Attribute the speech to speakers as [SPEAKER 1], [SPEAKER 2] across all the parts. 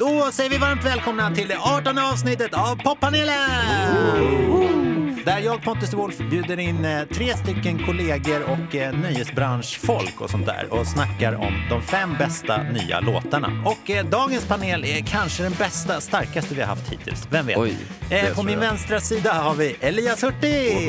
[SPEAKER 1] Då säger vi varmt välkomna till det 18 avsnittet av Poppanelen! Där jag, Pontus de Wolf, bjuder in eh, tre stycken kollegor och eh, nöjesbranschfolk och sånt där och snackar om de fem bästa nya låtarna. Och eh, dagens panel är kanske den bästa, starkaste vi har haft hittills. Vem vet?
[SPEAKER 2] Oj, det
[SPEAKER 1] eh, på
[SPEAKER 2] tror
[SPEAKER 1] min
[SPEAKER 2] jag.
[SPEAKER 1] vänstra sida har vi Elias Hurtig!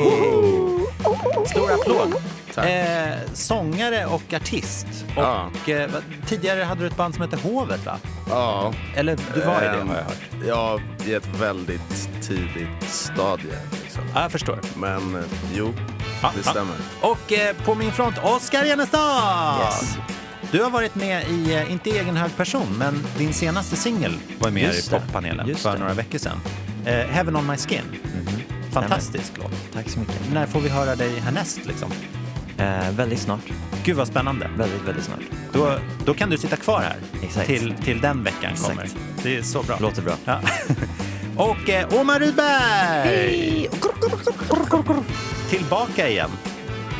[SPEAKER 1] Stor applåd! Eh, sångare och artist. Och,
[SPEAKER 2] Ja.
[SPEAKER 1] eh, va- tidigare hade du ett band som hette Hovet, va?
[SPEAKER 2] Ja.
[SPEAKER 1] Eller du var i det,
[SPEAKER 2] ehm,
[SPEAKER 1] har jag hört.
[SPEAKER 2] Ja, i ett väldigt tidigt stadie. Liksom.
[SPEAKER 1] Ja, jag förstår.
[SPEAKER 2] Men eh, jo,
[SPEAKER 1] Ja,
[SPEAKER 2] det
[SPEAKER 1] ja.
[SPEAKER 2] stämmer.
[SPEAKER 1] Och eh, på min front, Oskar Jennestad!
[SPEAKER 2] Yes.
[SPEAKER 1] Du har varit med i, eh, inte i egen hög person, men din senaste singel var med
[SPEAKER 3] Just
[SPEAKER 1] i
[SPEAKER 3] det.
[SPEAKER 1] poppanelen
[SPEAKER 3] Just
[SPEAKER 1] för
[SPEAKER 3] det. Mhm.
[SPEAKER 1] några veckor sedan. Eh, Heaven on my skin. Fantastisk låt.
[SPEAKER 3] Tack så mycket.
[SPEAKER 1] När får vi höra dig härnäst liksom?
[SPEAKER 3] Eh, väldigt snart.
[SPEAKER 1] Gud vad spännande.
[SPEAKER 3] Väldigt, väldigt snart.
[SPEAKER 1] Då, då kan du sitta kvar här
[SPEAKER 3] Exakt.
[SPEAKER 1] till, till den veckan kommer.
[SPEAKER 3] Exakt.
[SPEAKER 1] Det är så bra.
[SPEAKER 3] Låter bra.
[SPEAKER 1] Ja. Och eh, Omar Rudberg! Tillbaka igen.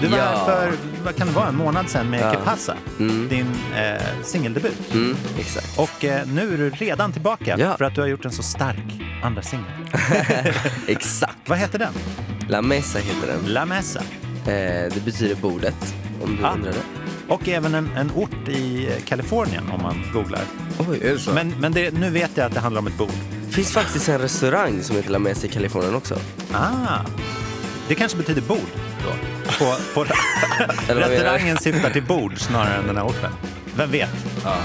[SPEAKER 1] Du var
[SPEAKER 2] Ja.
[SPEAKER 1] här för, vad kan det vara, en månad sedan med
[SPEAKER 3] Ja.
[SPEAKER 1] Kepassa, din eh, singeldebut.
[SPEAKER 2] Mm, exakt.
[SPEAKER 1] Och eh, nu är du redan tillbaka
[SPEAKER 4] Ja.
[SPEAKER 1] för att du har gjort en så stark andra singel.
[SPEAKER 4] Exakt.
[SPEAKER 1] Vad heter den?
[SPEAKER 4] La Mesa heter den.
[SPEAKER 1] La Mesa.
[SPEAKER 4] Eh, det betyder bordet, om du
[SPEAKER 1] Ah.
[SPEAKER 4] undrar det.
[SPEAKER 1] Och även en, en ort i eh, Kalifornien om man googlar.
[SPEAKER 4] Oj.
[SPEAKER 2] Är det så?
[SPEAKER 1] Men, men det, nu vet jag att det handlar om ett bord.
[SPEAKER 4] Det finns faktiskt en restaurang som heter La Mesa i Kalifornien också.
[SPEAKER 1] Ah, det kanske betyder bord då? På, på
[SPEAKER 4] Eller vad menar du?
[SPEAKER 1] restaurangen syftar till bord snarare än den här orten. Vem vet?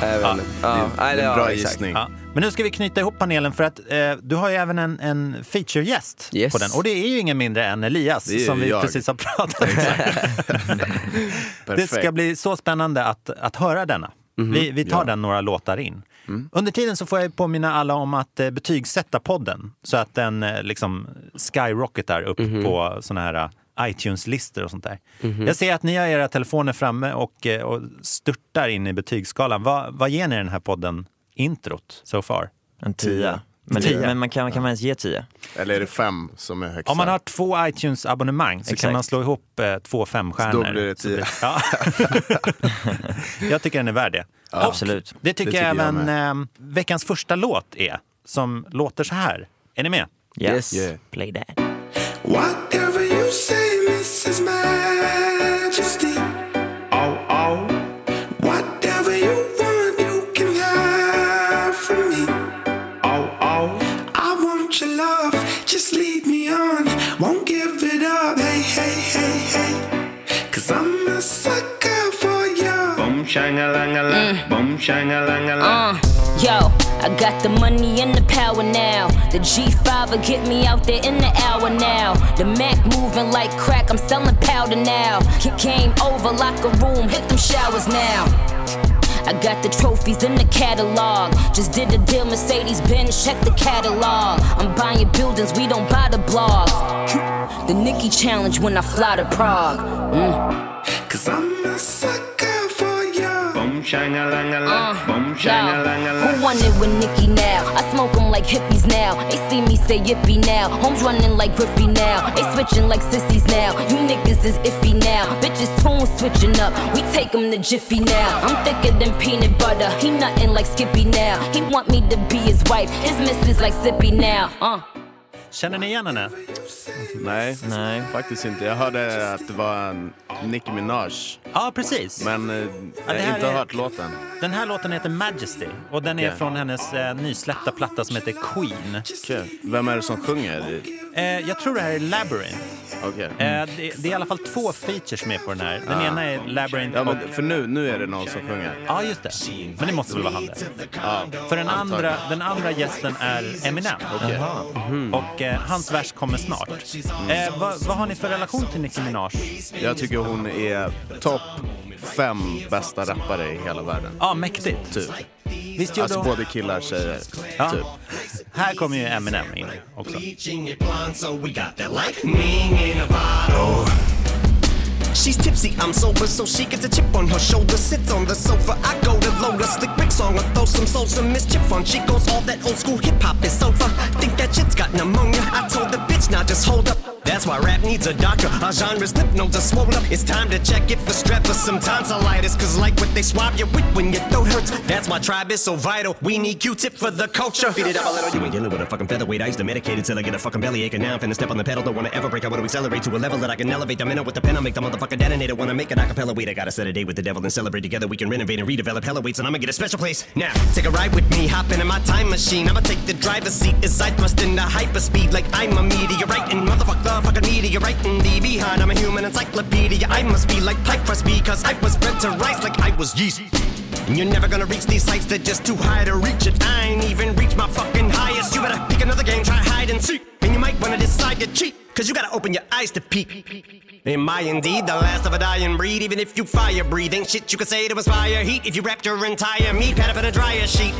[SPEAKER 4] Även,
[SPEAKER 1] Ah.
[SPEAKER 4] ja.
[SPEAKER 2] det är
[SPEAKER 4] nej,
[SPEAKER 2] en
[SPEAKER 4] ja,
[SPEAKER 2] bra
[SPEAKER 4] exakt.
[SPEAKER 2] gissning.
[SPEAKER 1] Ja. Men nu ska vi knyta ihop panelen för att eh, du har ju även en, en featuregäst
[SPEAKER 4] Yes.
[SPEAKER 1] på den. Och det är ju ingen mindre än Elias
[SPEAKER 2] Det är ju
[SPEAKER 1] som vi
[SPEAKER 2] jag.
[SPEAKER 1] precis har pratat om. det
[SPEAKER 2] Perfekt.
[SPEAKER 1] ska bli så spännande att, att höra denna. Vi, vi tar den några låtar in. Under tiden så får jag påminna alla om att eh, betygsätta podden så att den eh, liksom skyrocketar upp på såna här eh, iTunes-listor och sånt där. Jag ser att ni har era telefoner framme och, eh, och störtar in i betygsskalan. Vad, vad ger ni den här podden introt so far?
[SPEAKER 3] En tia. Men,
[SPEAKER 1] Tia.
[SPEAKER 3] men man kan, kan man ens ge tio?
[SPEAKER 2] Eller är det fem som är högst?
[SPEAKER 1] Om man har två iTunes-abonnemang så kan
[SPEAKER 3] Exakt.
[SPEAKER 1] man slå ihop eh, två femstjärnor.
[SPEAKER 2] Då blir det
[SPEAKER 1] Så
[SPEAKER 2] tio.
[SPEAKER 1] ja. jag tycker den är värd det. Och
[SPEAKER 3] Absolut.
[SPEAKER 1] Det tycker,
[SPEAKER 2] Det tycker
[SPEAKER 1] jag
[SPEAKER 2] jag
[SPEAKER 1] även eh, veckans första låt är, som låter så här. Är ni med?
[SPEAKER 3] Yeah.
[SPEAKER 4] Yes. Yeah.
[SPEAKER 3] Play that.
[SPEAKER 5] Whatever you say, Mrs. Majesty. Oh, oh. Whatever you want, you can have from me. Oh, oh. I want your love, just lead me on. Won't give it up, hey, hey, hey, hey. Cause I'm a sucker for you.
[SPEAKER 6] Boom shangalangalang, boom
[SPEAKER 7] Uh,
[SPEAKER 6] shangalangalang.
[SPEAKER 7] yo, I got the money and the power now. The G5 will get me out there in the hour now. The Mac moving like crack, I'm selling powder now. Get game over, lock a room, hit them showers now. I got the trophies in the catalog. Just did a deal, Mercedes Benz, check the catalog. I'm buying buildings, we don't buy the blogs. The Nicki challenge when I fly to Prague. Mm.
[SPEAKER 5] Cause I'm a sucker for you.
[SPEAKER 6] Boom shangalangalang, boom shangalangalang.
[SPEAKER 7] Who want it with Nicki now? I smoke 'em like hippies now. They see me say yippee now. Homes running like Griffey now. They switching like sissies now. You niggas is iffy now. Bitches tune switching up. We take 'em to Jiffy now. I'm thicker than peanut butter. He nothing like Skippy now. He want me to be his wife. His missus like Sippy now. Uh.
[SPEAKER 1] Känner ni igen henne?
[SPEAKER 2] Nej,
[SPEAKER 3] Nej.
[SPEAKER 2] faktiskt inte. Jag hörde att det var en Nicki Minaj,
[SPEAKER 1] Ja, precis.
[SPEAKER 2] men eh, jag
[SPEAKER 1] det
[SPEAKER 2] har
[SPEAKER 1] här
[SPEAKER 2] inte
[SPEAKER 1] är-
[SPEAKER 2] hört låten.
[SPEAKER 1] Den här låten heter Majesty och den är
[SPEAKER 2] Okej.
[SPEAKER 1] från hennes eh, nysläppta platta som heter Queen.
[SPEAKER 2] Okej. Vem är det som sjunger?
[SPEAKER 1] Eh, jag tror det här är Labyrinth.
[SPEAKER 2] Okej.
[SPEAKER 1] Eh, det, det är i alla fall två features med på den här. Den ena är Labyrinth
[SPEAKER 2] Ah. Ja,
[SPEAKER 1] och
[SPEAKER 2] men för nu, nu är det någon som sjunger.
[SPEAKER 1] Ja, just det. Men det måste väl vara han där. För den andra, den andra gästen är Eminem. Och eh, hans vers kommer snart. Eh, vad, vad har ni för relation till Nicki Minaj?
[SPEAKER 2] Jag tycker hon är topp fem bästa rappare i hela världen.
[SPEAKER 1] Ja, mäktigt. Typ. Visst gjorde
[SPEAKER 2] Alltså
[SPEAKER 1] hon...
[SPEAKER 2] både killar och tjejer.
[SPEAKER 1] Ja.
[SPEAKER 2] Typ.
[SPEAKER 1] Här kommer ju Eminem in också.
[SPEAKER 8] Bleaching it blonde, so we got that lightning in a bottle. She's tipsy, I'm sober, so she gets a chip on her shoulder. Sits on the sofa, I go to load a slick bricks on her, throw some soul, some Miss Chip on. She goes all that old school hip hop is over. Think that shit's got pneumonia. I told the bitch, now just hold up. That's why rap needs a doctor. Our genre's lip nodes are swollen up. It's time to check if the strep or some tonsillitis. Cause like what they swab you with when your throat hurts. That's why tribe is so vital. We need Q-tip for the culture. Feed it up a little. You ain't dealing with a fucking featherweight. I used to medicate it till I get a fucking bellyache. And now I'm finna step on the pedal. Don't wanna ever break. I wanna accelerate to a level that I can elevate. The minute with the pen, I'll make the motherfucker detonator. Wanna make an acapella wait. I gotta set a date with the devil and celebrate together. We can renovate and redevelop hella weights. And I'ma get a special place. Now, take a ride with me. Hop into my time machine. I'ma take the driver's seat as I thrust into hyperspeed like I'm a meteorite. And motherfucker, the fucking meteorite in the behind. I'm a human encyclopedia. I must be like Pike Crosby. Cause I was bred to rise like I was yeast. And you're never gonna reach these heights, they're just too high to reach. And I ain't even reached my fucking highest. You better pick another game, try hide and seek. And you might wanna decide to cheat, cause you gotta open your eyes to peek. Am I indeed the last of a dying breed? Even if you fire breathing shit, you could say to inspire heat. If you wrapped your entire meat pad up in a dryer sheet.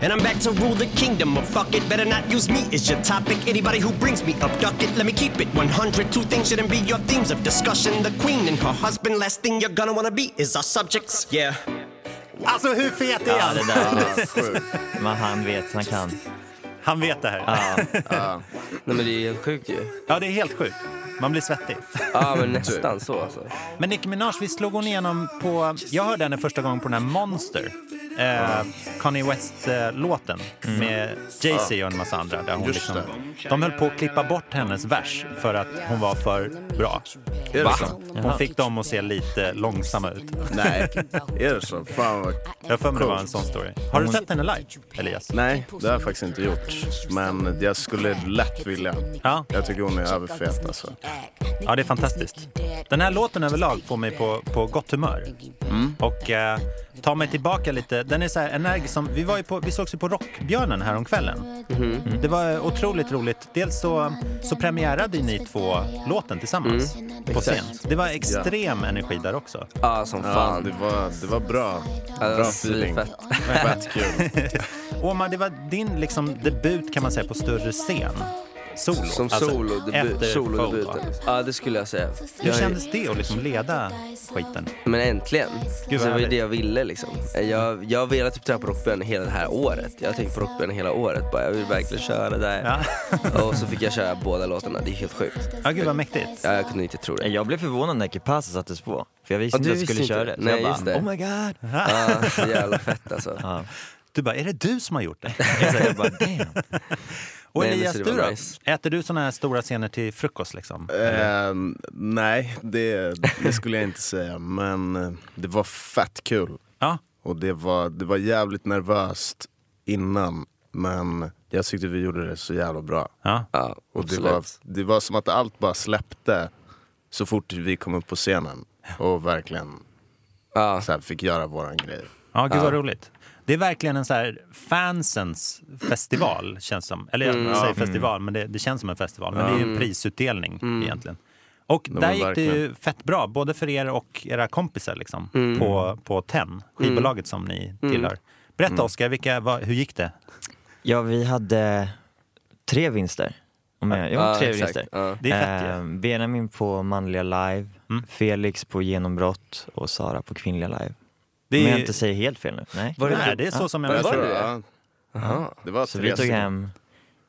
[SPEAKER 8] And I'm back to rule the kingdom, or fuck it, better not use me as your topic. Anybody who brings me up, duck it, let me keep it 100. Two things shouldn't be your themes of discussion. The queen and her husband, last thing you're gonna wanna be is our subjects, yeah.
[SPEAKER 1] Alltså hur fet är
[SPEAKER 3] Ja,
[SPEAKER 1] han?
[SPEAKER 3] det där.
[SPEAKER 2] Sjukt.
[SPEAKER 3] Men han vet, han kan.
[SPEAKER 1] Han vet det här.
[SPEAKER 4] Nej men det är helt sjukt ju.
[SPEAKER 1] Ja, det är helt sjukt. Man blir svettig.
[SPEAKER 4] Ja men nästan så alltså.
[SPEAKER 1] Men Nicki Minaj, vi slog hon igenom på... Jag hörde henne första gången på den här Monster. Eh, Kanye West-låten med Jay-Z och en massa andra. Där hon
[SPEAKER 2] Just
[SPEAKER 1] liksom, de höll på att klippa bort hennes vers för att hon var för bra.
[SPEAKER 2] Är det så?
[SPEAKER 1] Hon fick dem att se lite långsamma ut.
[SPEAKER 2] Nej, är det så? Fan vad...
[SPEAKER 1] Jag har för mig det var en sån story. Har du sett henne live, Elias?
[SPEAKER 2] Nej, det har jag faktiskt inte gjort. Men jag skulle lätt vilja.
[SPEAKER 1] Ja.
[SPEAKER 2] Jag tycker hon är överfet alltså.
[SPEAKER 1] Ja, det är fantastiskt. Den här låten överlag får mig på, på gott humör.
[SPEAKER 4] Mm.
[SPEAKER 1] Och eh, tar mig tillbaka lite. Den är så här energisk. Som, vi, var ju på, vi sågs ju på Rockbjörnen häromkvällen.
[SPEAKER 4] Mm-hmm.
[SPEAKER 1] Mm. Det var eh, otroligt roligt. Dels så, så premiärade ju ni två låten tillsammans
[SPEAKER 4] Mm.
[SPEAKER 1] på scen. Det var extrem energi där också.
[SPEAKER 4] Ja som
[SPEAKER 2] Ja,
[SPEAKER 4] fan.
[SPEAKER 2] det var, det var bra.
[SPEAKER 4] det
[SPEAKER 2] Bra
[SPEAKER 4] var
[SPEAKER 2] feeling.
[SPEAKER 4] svinfett.
[SPEAKER 2] Fett kul.
[SPEAKER 1] Oma, det var din liksom, debut kan man säga på större scen. Solo.
[SPEAKER 4] Som
[SPEAKER 1] Alltså,
[SPEAKER 4] solo, debu-
[SPEAKER 1] efter
[SPEAKER 4] solo
[SPEAKER 1] Fold, va?
[SPEAKER 4] debuten. liksom. Ja det skulle jag säga.
[SPEAKER 1] Hur
[SPEAKER 4] Jag,
[SPEAKER 1] kändes det att liksom leda skiten?
[SPEAKER 4] Men äntligen.
[SPEAKER 1] Gud,
[SPEAKER 4] så
[SPEAKER 1] vad
[SPEAKER 4] det var ju
[SPEAKER 1] härligt.
[SPEAKER 4] det jag ville liksom. Jag, jag har velat typ träna på rockband hela det här året. Jag har tänkt på rockband hela året bara. Jag vill verkligen köra det där. Och så fick jag köra båda låtarna. Det är helt sjukt.
[SPEAKER 1] Ja, gud vad mäktigt.
[SPEAKER 4] Ja, jag kunde inte tro det.
[SPEAKER 3] Jag blev förvånad när ekipaget sattes på. För jag visste
[SPEAKER 4] Ja,
[SPEAKER 3] inte
[SPEAKER 4] du
[SPEAKER 3] att jag skulle
[SPEAKER 4] visste
[SPEAKER 3] köra
[SPEAKER 4] inte.
[SPEAKER 3] det. Så
[SPEAKER 4] Nej,
[SPEAKER 3] jag
[SPEAKER 4] just
[SPEAKER 3] bara,
[SPEAKER 4] det.
[SPEAKER 3] oh my god.
[SPEAKER 4] Ja, Ah, så jävla fett alltså.
[SPEAKER 3] Ja.
[SPEAKER 1] Du bara, är det du som har gjort det?
[SPEAKER 3] Så jag bara, damn.
[SPEAKER 1] Och
[SPEAKER 4] Nej, men
[SPEAKER 1] Elias,
[SPEAKER 4] så det
[SPEAKER 1] du
[SPEAKER 4] var
[SPEAKER 1] då?
[SPEAKER 4] nice. Eh.
[SPEAKER 1] Äter du såna här stora scener till frukost? Liksom?
[SPEAKER 2] Ehm, nej, det, det skulle jag inte säga. Men eh, det var fett kul.
[SPEAKER 1] Ja.
[SPEAKER 2] Och det var, det var jävligt nervöst innan. Men jag tyckte vi gjorde det så jävla bra.
[SPEAKER 1] ja.
[SPEAKER 4] Ja,
[SPEAKER 2] Och det
[SPEAKER 4] absolut.
[SPEAKER 2] var, det var som att allt bara släppte så fort vi kom upp på scenen. Och verkligen
[SPEAKER 4] Ja,
[SPEAKER 2] så här, fick göra våran grej.
[SPEAKER 1] Ja, gud vad roligt. Det är verkligen en så här fansens
[SPEAKER 4] Mm.
[SPEAKER 1] festival, känns som. Eller jag säger festival, men det, det känns som en festival. Men det är
[SPEAKER 4] Mm.
[SPEAKER 1] ju en prisutdelning egentligen. Och
[SPEAKER 2] men
[SPEAKER 1] där gick det ju
[SPEAKER 2] verkligen.
[SPEAKER 1] fett bra, både för er och era kompisar liksom,
[SPEAKER 4] Mm.
[SPEAKER 1] på, på TEN, skivbolaget som ni tillhör. Berätta
[SPEAKER 4] Mm.
[SPEAKER 1] Oskar, vilka, vad, hur gick det?
[SPEAKER 3] Ja, vi hade tre vinster. Om jag,
[SPEAKER 4] ja
[SPEAKER 3] jo, tre
[SPEAKER 4] exakt.
[SPEAKER 3] vinster.
[SPEAKER 4] Ja.
[SPEAKER 1] Det är fett Mm. ju.
[SPEAKER 3] Eh, Benjamin på Manliga Live, Felix på Genombrott och Sara på Kvinnliga Live.
[SPEAKER 1] Det
[SPEAKER 3] Om
[SPEAKER 1] är,
[SPEAKER 3] jag inte säger helt fel nu. Nej.
[SPEAKER 1] nej, det är så som jag
[SPEAKER 2] Jag
[SPEAKER 1] minns
[SPEAKER 4] var
[SPEAKER 2] tror,
[SPEAKER 4] det det?
[SPEAKER 2] ja,
[SPEAKER 4] Aha.
[SPEAKER 2] det var
[SPEAKER 3] Så
[SPEAKER 2] tre
[SPEAKER 3] vi tog
[SPEAKER 2] stycken.
[SPEAKER 3] hem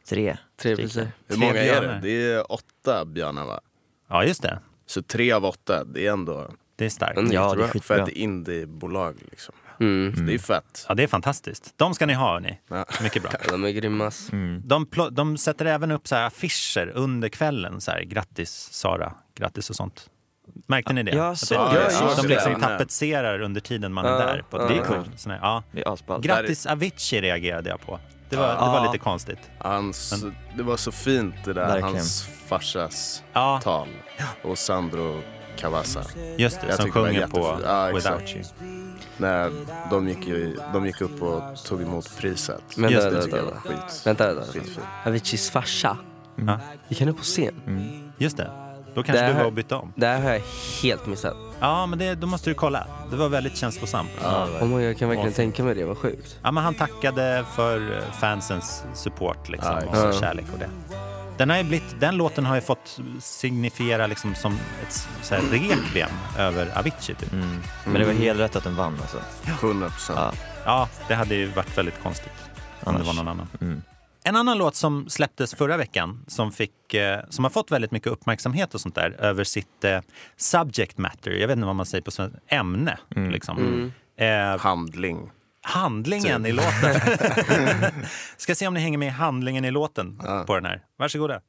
[SPEAKER 3] tre.
[SPEAKER 4] Tre
[SPEAKER 3] stycken.
[SPEAKER 4] priser.
[SPEAKER 2] Hur
[SPEAKER 1] tre
[SPEAKER 2] många är
[SPEAKER 1] björnar.
[SPEAKER 2] det? Det är åtta björnar va?
[SPEAKER 1] Ja, just det.
[SPEAKER 2] Så tre av åtta, det är ändå
[SPEAKER 1] Det är starkt.
[SPEAKER 4] Mm,
[SPEAKER 3] Ja, det är
[SPEAKER 4] Jättebra.
[SPEAKER 2] för
[SPEAKER 3] skitbra.
[SPEAKER 2] ett indiebolag liksom.
[SPEAKER 4] Mm.
[SPEAKER 2] Så det är fett.
[SPEAKER 1] Ja, det är fantastiskt. De ska ni ha, hörni.
[SPEAKER 2] Ja.
[SPEAKER 1] Mycket bra.
[SPEAKER 4] De är grymma. ass.
[SPEAKER 2] Mm.
[SPEAKER 1] De, plo- de sätter även upp så här affischer under kvällen. Så här, grattis Sara, grattis och sånt. Märkte ni det?
[SPEAKER 3] Ja,
[SPEAKER 1] Att
[SPEAKER 3] så-
[SPEAKER 1] det-
[SPEAKER 3] ja, jag
[SPEAKER 1] de
[SPEAKER 2] såg det.
[SPEAKER 1] liksom
[SPEAKER 2] Ja.
[SPEAKER 1] tapetserar under tiden man är
[SPEAKER 4] Ja,
[SPEAKER 1] där. På
[SPEAKER 4] ja.
[SPEAKER 1] det
[SPEAKER 4] Det är coolt.
[SPEAKER 1] ja.
[SPEAKER 3] Det är asballt.
[SPEAKER 1] Grattis Avicii reagerade jag på. Det var, det var
[SPEAKER 3] Ja.
[SPEAKER 1] lite konstigt.
[SPEAKER 2] Hans, det var så fint det där,
[SPEAKER 3] Verkligen.
[SPEAKER 2] hans farsas
[SPEAKER 1] Ja.
[SPEAKER 2] tal. Och Sandro Cavazza.
[SPEAKER 1] Just det,
[SPEAKER 2] Jag
[SPEAKER 1] som
[SPEAKER 2] tycker det var
[SPEAKER 1] sjunger på
[SPEAKER 2] jättefint. Ja, exakt.
[SPEAKER 1] Without You.
[SPEAKER 2] När de, gick ju, de gick upp och tog emot priset.
[SPEAKER 4] Men
[SPEAKER 1] Just
[SPEAKER 4] vänta,
[SPEAKER 1] det,
[SPEAKER 2] tycker
[SPEAKER 4] vänta,
[SPEAKER 2] jag
[SPEAKER 4] vänta.
[SPEAKER 2] var skit.
[SPEAKER 4] Vänta, vänta, vänta.
[SPEAKER 2] Skitfint. Mm.
[SPEAKER 4] Aviciis farsa.
[SPEAKER 1] Ja.
[SPEAKER 4] Gick han upp på scen?
[SPEAKER 1] Just det. Då kanske
[SPEAKER 4] Där-
[SPEAKER 1] du var och bytte om.
[SPEAKER 4] Det här har jag helt missat.
[SPEAKER 1] Ja, men det, då måste du kolla. Det var väldigt känslosamt.
[SPEAKER 4] Oh my God, jag kan verkligen tänka mig det, vad sjukt.
[SPEAKER 1] Ja, men han tackade för eh, fansens support liksom,
[SPEAKER 2] Ja,
[SPEAKER 1] och så kärlek och det. Den, har ju blivit, den låten har ju fått signifiera liksom som ett så här, rekviem över Avicii. Typ.
[SPEAKER 2] Mm.
[SPEAKER 3] Men det var helt rätt att den vann alltså.
[SPEAKER 2] 100 procent.
[SPEAKER 3] Ja.
[SPEAKER 2] Mm.
[SPEAKER 1] Ja, det hade ju varit väldigt konstigt om det var någon annan. En annan låt som släpptes förra veckan som, fick, eh, som har fått väldigt mycket uppmärksamhet och sånt där över sitt eh, subject matter, jag vet inte vad man säger på svenska, ämne.
[SPEAKER 2] Mm.
[SPEAKER 1] Liksom. Eh,
[SPEAKER 2] Handling.
[SPEAKER 1] handlingen i
[SPEAKER 2] Typ.
[SPEAKER 1] låten. Ska se om ni hänger med i handlingen i låten på den här. Varsågoda.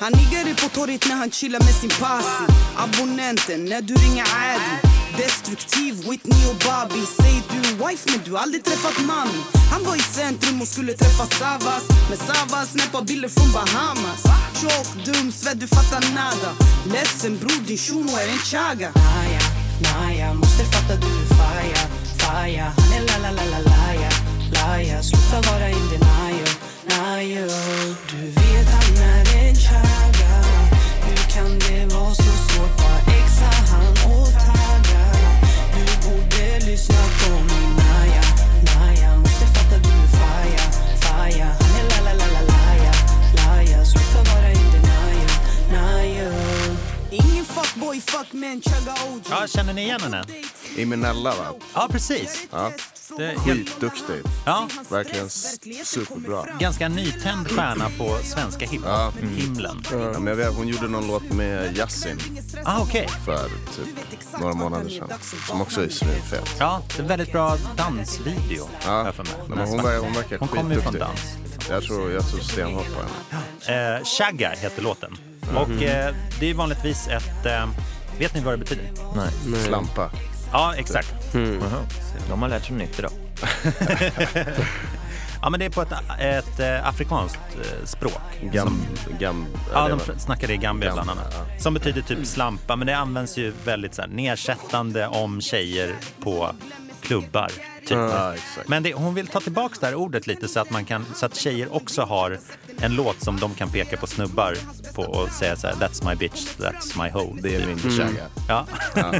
[SPEAKER 9] Han ligger i på torget när han chillar med sin posse Abonnenten när du ringer Adi Destruktiv, Whitney och Bobby Säger du wife men du har aldrig träffat mami Han var i centrum och skulle träffa Savas Men Savas snappar bilder från Bahamas Tjock, dum, svett, du fattar nada Ledsen bror, din shuno är en chaga
[SPEAKER 10] Naja, naja, måste fatta du är faja, faja Han är la la la la laja, laja Sluta vara in denial, najo Du vet han är en chaga Hur kan det vara så svårt? Vad exar han och taggar? Du borde lyssna på min naja, naja Måste fatta du är faja, faja Han är la la la la laja, laja Sluta vara in denial, najo
[SPEAKER 9] Ingen fuckboy, fuck man, chaga OG
[SPEAKER 1] Ja, känner ni igen henne?
[SPEAKER 2] Imenella va?
[SPEAKER 1] Ja, precis.
[SPEAKER 2] Ja.
[SPEAKER 1] Det är helt-
[SPEAKER 2] Skitduktig.
[SPEAKER 1] Ja,
[SPEAKER 2] Verkligen s- superbra.
[SPEAKER 1] ganska nytänd stjärna på svenska hiphop-himlen.
[SPEAKER 2] Ja, men jag vet, hon gjorde någon låt med Yasin
[SPEAKER 1] Ah, okej.
[SPEAKER 2] för typ några månader sedan. Som också är svinfet.
[SPEAKER 1] Ja, det är en väldigt bra dansvideo. har
[SPEAKER 2] Ja.
[SPEAKER 1] jag för mig.
[SPEAKER 2] Nej, men hon, ver- hon verkar
[SPEAKER 1] Hon kommer ju från
[SPEAKER 2] skitduktig.
[SPEAKER 1] dans.
[SPEAKER 2] Jag tror, jag tror stenhårt på henne.
[SPEAKER 1] Eh, Shagga heter låten.
[SPEAKER 2] Mhm.
[SPEAKER 1] Och eh, det är vanligtvis ett... Eh, vet ni vad det betyder?
[SPEAKER 3] Nej.
[SPEAKER 1] Mm.
[SPEAKER 2] Slampa.
[SPEAKER 1] Ja, exakt.
[SPEAKER 2] Mm.
[SPEAKER 3] Aha.
[SPEAKER 1] Mm.
[SPEAKER 3] De har lärt sig nytt idag.
[SPEAKER 1] Ja, men det är på ett, ett eh, afrikanskt eh, språk.
[SPEAKER 2] Gam... gam
[SPEAKER 1] Ja,
[SPEAKER 2] eller
[SPEAKER 1] de
[SPEAKER 2] vad-
[SPEAKER 1] pr- snackar det i Gambia bland
[SPEAKER 2] Gambia,
[SPEAKER 1] annat. Som betyder typ slampa, men det används ju väldigt så här, nedsättande om tjejer på klubbar. Typ.
[SPEAKER 2] Ja, exakt.
[SPEAKER 1] Men det, hon vill ta tillbaka det här ordet lite så att, man kan, så att tjejer också har en låt som de kan peka på snubbar på och säga så här That's my bitch, that's my hoe.
[SPEAKER 2] Det är min shagga.
[SPEAKER 1] Ja.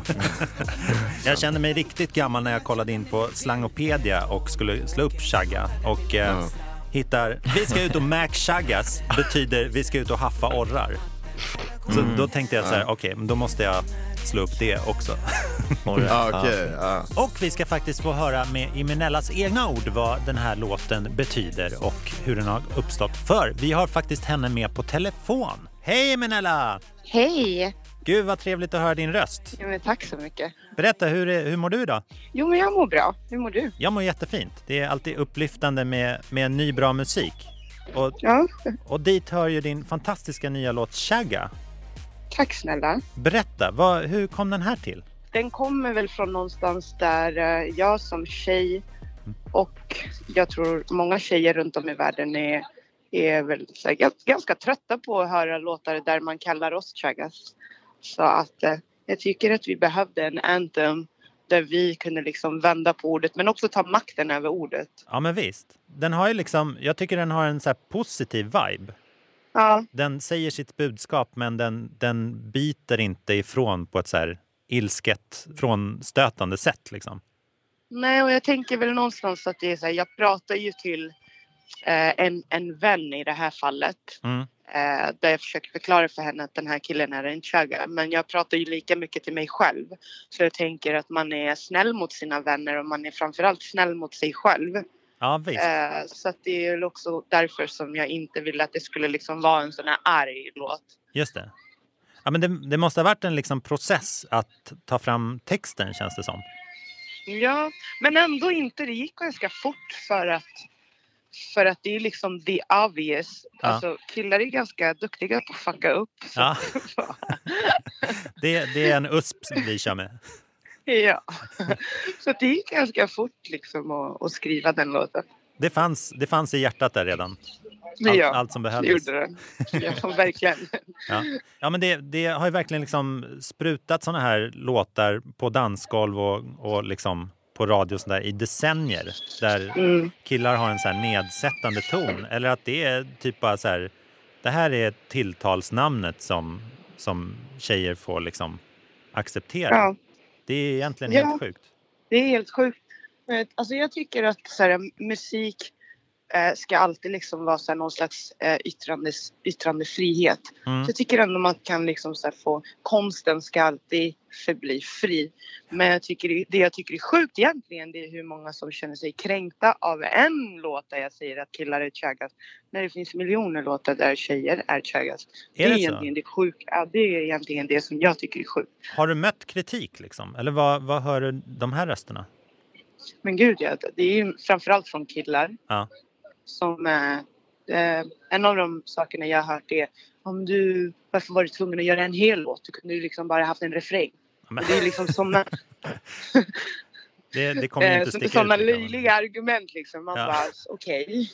[SPEAKER 1] jag kände mig riktigt gammal när jag kollade in på Slangopedia och skulle slå upp Shagga. Och eh, hittar Vi ska ut och mac Shaggas betyder vi ska ut och haffa orrar. Så då tänkte jag så här, okej, men då måste jag slå upp det också.
[SPEAKER 2] Ja, okej. Ja.
[SPEAKER 1] Och vi ska faktiskt få höra med Imenellas egna ord vad den här låten betyder och hur den har uppstått. För vi har faktiskt henne med på telefon. Hej Imenella!
[SPEAKER 11] Hej!
[SPEAKER 1] Gud vad trevligt att höra din röst.
[SPEAKER 11] Ja, men tack så mycket.
[SPEAKER 1] Berätta, hur, är- hur mår du idag?
[SPEAKER 11] Jo, men jag mår bra. Hur mår du?
[SPEAKER 1] Jag mår jättefint. Det är alltid upplyftande med, med ny bra musik. Och,
[SPEAKER 11] Ja,
[SPEAKER 1] och dit hör ju din fantastiska nya låt Shagga.
[SPEAKER 11] tack snälla.
[SPEAKER 1] Berätta, vad, hur kom den här till?
[SPEAKER 11] Den kommer väl från någonstans där eh, jag som tjej och jag tror många tjejer runt om i världen är, är väl så här, gans- ganska trötta på att höra låtar där man kallar oss chaggas. Så att eh, jag tycker att vi behövde en anthem där vi kunde liksom vända på ordet men också ta makten över ordet.
[SPEAKER 1] Ja men visst. Den har ju liksom, jag tycker den har en så här positiv vibe.
[SPEAKER 11] Ja,
[SPEAKER 1] Den säger sitt budskap men den, den biter inte ifrån på ett så här ilsket, frånstötande sätt liksom.
[SPEAKER 11] Nej, och jag tänker väl någonstans att det är så här, jag pratar ju till eh, en, en vän i det här fallet.
[SPEAKER 1] Mm.
[SPEAKER 11] Eh, där jag försöker förklara för henne att den här killen är en chagga. Men jag pratar ju lika mycket till mig själv. Så jag tänker att man är snäll mot sina vänner och man är framförallt snäll mot sig själv.
[SPEAKER 1] Ja visst.
[SPEAKER 11] Eh, så att det är väl också därför som jag inte ville att det skulle liksom vara en sån här arg låt.
[SPEAKER 1] Just det. Ja, men det, det måste ha varit en liksom process att ta fram texten känns det som.
[SPEAKER 11] Ja, men ändå inte. Det gick ganska fort för att, för att det är liksom the obvious.
[SPEAKER 1] Ja.
[SPEAKER 11] Alltså, killar är ganska duktiga på att fucka upp. Så.
[SPEAKER 1] Ja. Det, det är en USP vi kör med.
[SPEAKER 11] ja. så det gick ganska fort liksom att, att skriva den låten.
[SPEAKER 1] Det fanns, det fanns i hjärtat där redan.
[SPEAKER 11] Men
[SPEAKER 1] Allt,
[SPEAKER 11] ja,
[SPEAKER 1] allt som
[SPEAKER 11] det
[SPEAKER 1] behövdes.
[SPEAKER 11] gjorde den. Ja, verkligen.
[SPEAKER 1] Ja. Ja, men det, det har ju verkligen liksom sprutat såna här låtar på dansgolv och, och liksom på radio och sånt där i decennier. Där
[SPEAKER 11] Mm.
[SPEAKER 1] killar har en så här nedsättande ton. Eller att det är typ bara så här... Det här är tilltalsnamnet som, som tjejer får liksom acceptera.
[SPEAKER 11] Ja.
[SPEAKER 1] Det är egentligen
[SPEAKER 11] Ja.
[SPEAKER 1] helt sjukt.
[SPEAKER 11] Det är helt sjukt. Men, Alltså jag tycker att så här, musik eh, ska alltid liksom vara så här någon slags eh, yttrandes, yttrandefrihet.
[SPEAKER 12] Mm.
[SPEAKER 11] Så jag tycker ändå man kan liksom så här få, konsten ska alltid förbli fri. Men jag tycker, det jag tycker är sjukt egentligen det är hur många som känner sig kränkta av en låt där jag säger att killar är tjögast. När det finns miljoner låtar där tjejer är tjögast.
[SPEAKER 1] Är det så?
[SPEAKER 11] egentligen det sjuka, ja, det är egentligen det som jag tycker är sjukt.
[SPEAKER 1] Har du mött kritik liksom? Eller vad, vad hör du de här rösterna?
[SPEAKER 11] Men gud ja, det är ju framförallt från killar.
[SPEAKER 1] Ja.
[SPEAKER 11] som eh, eh, en av de sakerna jag har hört är om du, varför var du tvungen att göra en hel låt? Du kunde ju liksom bara haft en refräng.
[SPEAKER 1] Men-
[SPEAKER 11] Det är liksom sådana,
[SPEAKER 1] Det, det kommer ju
[SPEAKER 11] eh,
[SPEAKER 1] inte
[SPEAKER 11] så-
[SPEAKER 1] sticka
[SPEAKER 11] sådana
[SPEAKER 1] ut. liksom.
[SPEAKER 11] löjliga argument liksom. Man
[SPEAKER 1] Ja.
[SPEAKER 11] bara okej.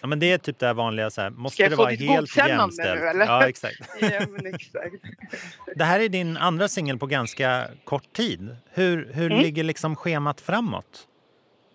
[SPEAKER 1] Ja, men det är typ det här vanliga, så här,
[SPEAKER 11] Ska
[SPEAKER 1] måste
[SPEAKER 11] jag
[SPEAKER 1] det
[SPEAKER 11] få
[SPEAKER 1] vara
[SPEAKER 11] ditt
[SPEAKER 1] helt
[SPEAKER 11] godkännande
[SPEAKER 1] jämställt?
[SPEAKER 11] nu eller?
[SPEAKER 1] Ja, exakt.
[SPEAKER 11] ja, men exakt.
[SPEAKER 1] Det här är din andra singel på ganska kort tid. Hur, hur
[SPEAKER 11] Mm.
[SPEAKER 1] ligger liksom schemat framåt?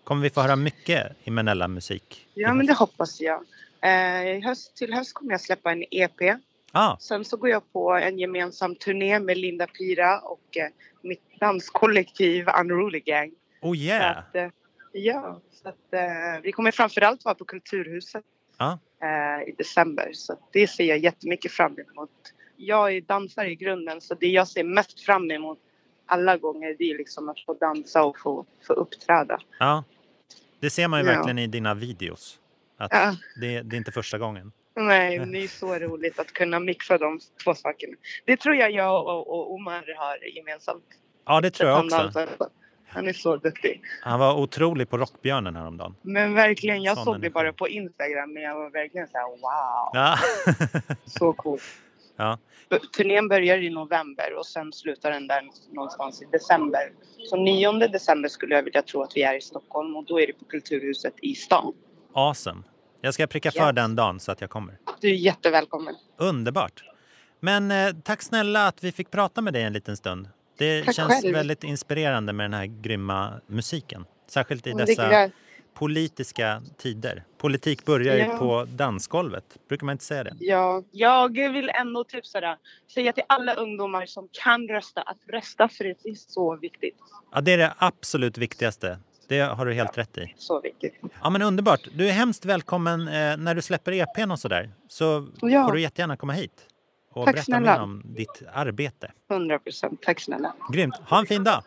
[SPEAKER 1] Kommer vi få höra mycket Imenella-musik?
[SPEAKER 11] Ja, men det hoppas jag. Eh, i höst, till höst kommer jag släppa en EP.
[SPEAKER 1] Ah,
[SPEAKER 11] Sen så går jag på en gemensam turné med Linda Pira och eh, mitt danskollektiv Unruly Gang.
[SPEAKER 1] oh yeah!
[SPEAKER 11] Så att, eh, ja, så att, eh, vi kommer framförallt vara på Kulturhuset
[SPEAKER 1] Ja.
[SPEAKER 11] eh, i december. Så att det ser jag jättemycket fram emot. Jag är dansare i grunden så det jag ser mest fram emot alla gånger det är liksom att få dansa och få, få uppträda.
[SPEAKER 1] Ja. Det ser man ju
[SPEAKER 11] Ja.
[SPEAKER 1] verkligen i dina videos. Att
[SPEAKER 11] Ja.
[SPEAKER 1] det, det är inte första gången.
[SPEAKER 11] Nej, men det är så roligt att kunna mixa de två sakerna. Det tror jag jag och, och Omar har gemensamt.
[SPEAKER 1] Ja, det tror jag
[SPEAKER 11] Han
[SPEAKER 1] också.
[SPEAKER 11] dansar. Han är så duktig.
[SPEAKER 1] Han var otrolig på Rockbjörnen häromdagen.
[SPEAKER 11] Men verkligen, jag
[SPEAKER 1] Sån
[SPEAKER 11] såg det
[SPEAKER 1] energi.
[SPEAKER 11] bara på Instagram men jag var verkligen så här wow.
[SPEAKER 1] Ja.
[SPEAKER 11] Så coolt.
[SPEAKER 1] Ja.
[SPEAKER 11] B- Turnén börjar i november och sen slutar den där någonstans i december. Så 9 december skulle jag vilja tro att vi är i Stockholm och då är det på Kulturhuset i stan.
[SPEAKER 1] Awesome. Jag ska pricka för den dagen så att jag kommer.
[SPEAKER 11] Du är jättevälkommen.
[SPEAKER 1] Underbart. Men eh, tack snälla att vi fick prata med dig en liten stund. Det
[SPEAKER 11] Tack
[SPEAKER 1] känns
[SPEAKER 11] själv.
[SPEAKER 1] väldigt inspirerande med den här grymma musiken. Särskilt i
[SPEAKER 11] Men Mm, det
[SPEAKER 1] dessa
[SPEAKER 11] gläd-
[SPEAKER 1] politiska tider. Politik börjar ju
[SPEAKER 11] Ja.
[SPEAKER 1] på dansgolvet. Brukar man inte säga det?
[SPEAKER 11] Ja, jag vill ändå typ sådär, säga till alla ungdomar som kan rösta att rösta för det är så viktigt.
[SPEAKER 1] Ja, det är det absolut viktigaste. Det har du helt rätt i.
[SPEAKER 11] Så viktigt.
[SPEAKER 1] Ja, men underbart. Du är hemskt välkommen eh, när du släpper EPn och sådär. Så
[SPEAKER 11] Ja.
[SPEAKER 1] får du jättegärna komma hit och
[SPEAKER 11] Tack
[SPEAKER 1] berätta
[SPEAKER 11] snälla.
[SPEAKER 1] mer om ditt arbete.
[SPEAKER 11] 100 procent. Tack snälla.
[SPEAKER 1] Grymt. Ha en fin dag!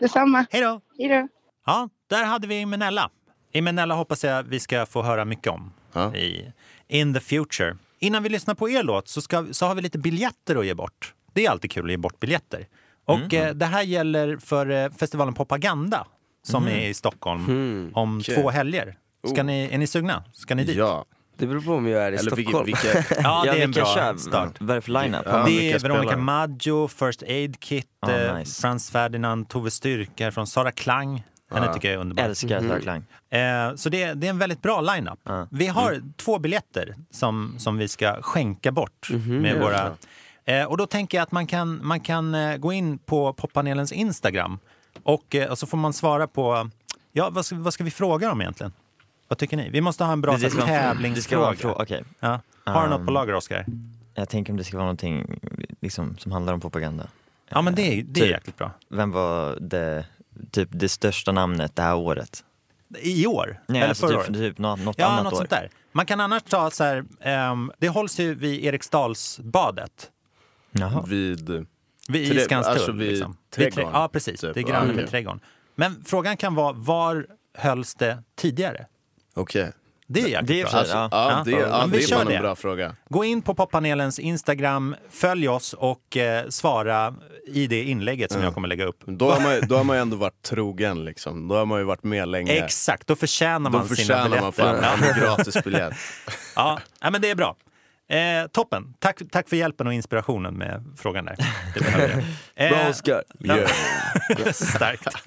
[SPEAKER 11] Detsamma.
[SPEAKER 1] Hej då.
[SPEAKER 11] Hej då.
[SPEAKER 1] Ja, där hade vi Imenella. Imenella hoppas jag vi ska få höra mycket om i In the Future. Innan vi lyssnar på er låt så, ska, så har vi lite biljetter att ge bort. Det är alltid kul att ge bort biljetter. Och eh, det här gäller för eh, festivalen Propaganda som
[SPEAKER 4] Mm.
[SPEAKER 1] är i Stockholm
[SPEAKER 4] Mm,
[SPEAKER 1] om
[SPEAKER 4] kul.
[SPEAKER 1] två helger. Ska ni, är ni sugna? Ska ni dit?
[SPEAKER 2] Ja.
[SPEAKER 4] Det beror på om jag är i
[SPEAKER 1] Eller vilka-
[SPEAKER 4] Stockholm.
[SPEAKER 1] vilka- Ja, det är en bra start.
[SPEAKER 4] Vad är det för line-up?
[SPEAKER 1] det är Veronica Maggio, First Aid Kit,
[SPEAKER 4] Ah,
[SPEAKER 1] eh,
[SPEAKER 4] nice.
[SPEAKER 1] Frans Ferdinand, Tove Styrka från Sara Klang. Henne
[SPEAKER 3] Ah.
[SPEAKER 1] tycker jag är underbar.
[SPEAKER 3] Älskar Sara Mhm. Klang.
[SPEAKER 1] Eh, så det är, det är en väldigt bra lineup. Vi har
[SPEAKER 3] Mm.
[SPEAKER 1] två biljetter som, som vi ska skänka bort
[SPEAKER 3] Mhm,
[SPEAKER 1] med
[SPEAKER 4] Ja.
[SPEAKER 1] våra... Eh, och då tänker jag att man kan, man kan eh, gå in på poppanelens Instagram och, eh, och så får man svara på... Ja, vad ska, vad ska vi fråga dem egentligen? Vad tycker ni? Vi måste ha en bra
[SPEAKER 3] Det- det
[SPEAKER 1] så här
[SPEAKER 3] ska vara en- det ska vara
[SPEAKER 1] tävlingsfråga.
[SPEAKER 3] en fråga, okej.
[SPEAKER 1] ja. Har du något på
[SPEAKER 3] Um,
[SPEAKER 1] lager, Oscar?
[SPEAKER 3] Jag tänker om det ska vara någonting liksom, som handlar om propaganda.
[SPEAKER 1] Ja, men det är, det är
[SPEAKER 3] typ.
[SPEAKER 1] jäkligt bra.
[SPEAKER 3] Vem var det, typ, det största namnet det här året?
[SPEAKER 1] I år?
[SPEAKER 3] Nej,
[SPEAKER 1] eller
[SPEAKER 3] alltså
[SPEAKER 1] förra
[SPEAKER 3] typ,
[SPEAKER 1] året?
[SPEAKER 3] typ något, något
[SPEAKER 1] ja,
[SPEAKER 3] annat
[SPEAKER 1] något
[SPEAKER 3] år.
[SPEAKER 1] sånt där. Man kan annars ta så här, ehm, det hålls ju vid Eriksdalsbadet.
[SPEAKER 2] Vid...
[SPEAKER 1] Vid
[SPEAKER 2] Trä-
[SPEAKER 1] i Skanstull.
[SPEAKER 2] Alltså vid
[SPEAKER 1] liksom. Vid
[SPEAKER 2] trädgården.
[SPEAKER 1] trä- ja, precis.
[SPEAKER 2] typ.
[SPEAKER 1] Det är
[SPEAKER 2] Ja,
[SPEAKER 1] granne
[SPEAKER 2] okej.
[SPEAKER 1] med trädgården. Men frågan kan vara, var hölls det tidigare?
[SPEAKER 2] Okej.
[SPEAKER 1] Det är jäkligt
[SPEAKER 2] Det är
[SPEAKER 1] bra.
[SPEAKER 2] för sig, Alltså, ja. ja, det är- ja,
[SPEAKER 1] Men vi
[SPEAKER 2] det är
[SPEAKER 1] kör
[SPEAKER 2] fan en bra fråga.
[SPEAKER 1] Gå in på poppanelens Instagram, följ oss och eh, svara i det inlägget
[SPEAKER 2] Mm.
[SPEAKER 1] som jag kommer lägga upp.
[SPEAKER 2] Då har, man, ju- då har man ju ändå varit trogen liksom. Då har man ju varit med länge.
[SPEAKER 1] Exakt, då förtjänar man
[SPEAKER 2] Då förtjänar
[SPEAKER 1] sina
[SPEAKER 2] man
[SPEAKER 1] biljetter.
[SPEAKER 2] fan en gratisbiljett.
[SPEAKER 1] ja, ja, men det är bra. Eh, toppen. Tack, tack för hjälpen och inspirationen med frågan där. Det behöver jag.
[SPEAKER 4] Bra, Oscar.
[SPEAKER 1] ja.
[SPEAKER 4] Yeah.
[SPEAKER 1] Starkt.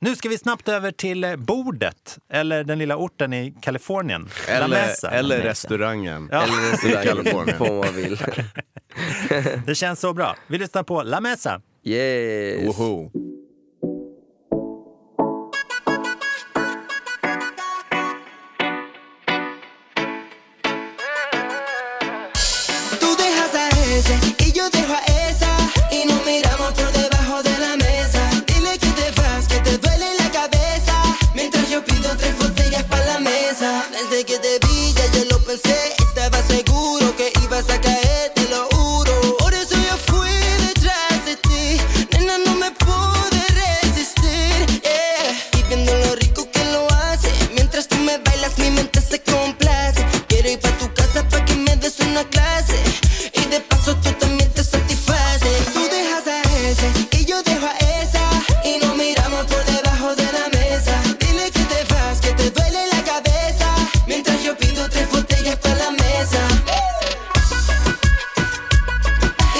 [SPEAKER 1] Nu ska vi snabbt över till eh, bordet, eller den lilla orten i Kalifornien. La Mesa.
[SPEAKER 2] restaurangen.
[SPEAKER 1] Ja.
[SPEAKER 2] I Kalifornien.
[SPEAKER 4] På vad man vill.
[SPEAKER 1] Det känns så bra. Vi lyssnar på La Mesa.
[SPEAKER 4] Yes.
[SPEAKER 2] Woho.
[SPEAKER 12] Tú dejas a ese y yo dejo a esa y nos miramos por debajo de la mesa. Dile que te vas, que te duele la cabeza. Mientras yo pido tres botellas para la mesa. Desde que te vi ya yo lo pensé, estaba seguro que ibas a caer, te lo juro. Por eso yo fui detrás de ti, nena no me pude resistir. yeah. Y viendo lo rico que lo hace, mientras tú me bailas mi mente se complace. Quiero ir pa' tu casa pa' que me des una clase Y de paso tú también te satisfaces Tú dejas a ese y yo dejo a esa Y nos miramos por debajo de la mesa Dile que te vas, que te duele la cabeza Mientras yo pido tres botellas para la mesa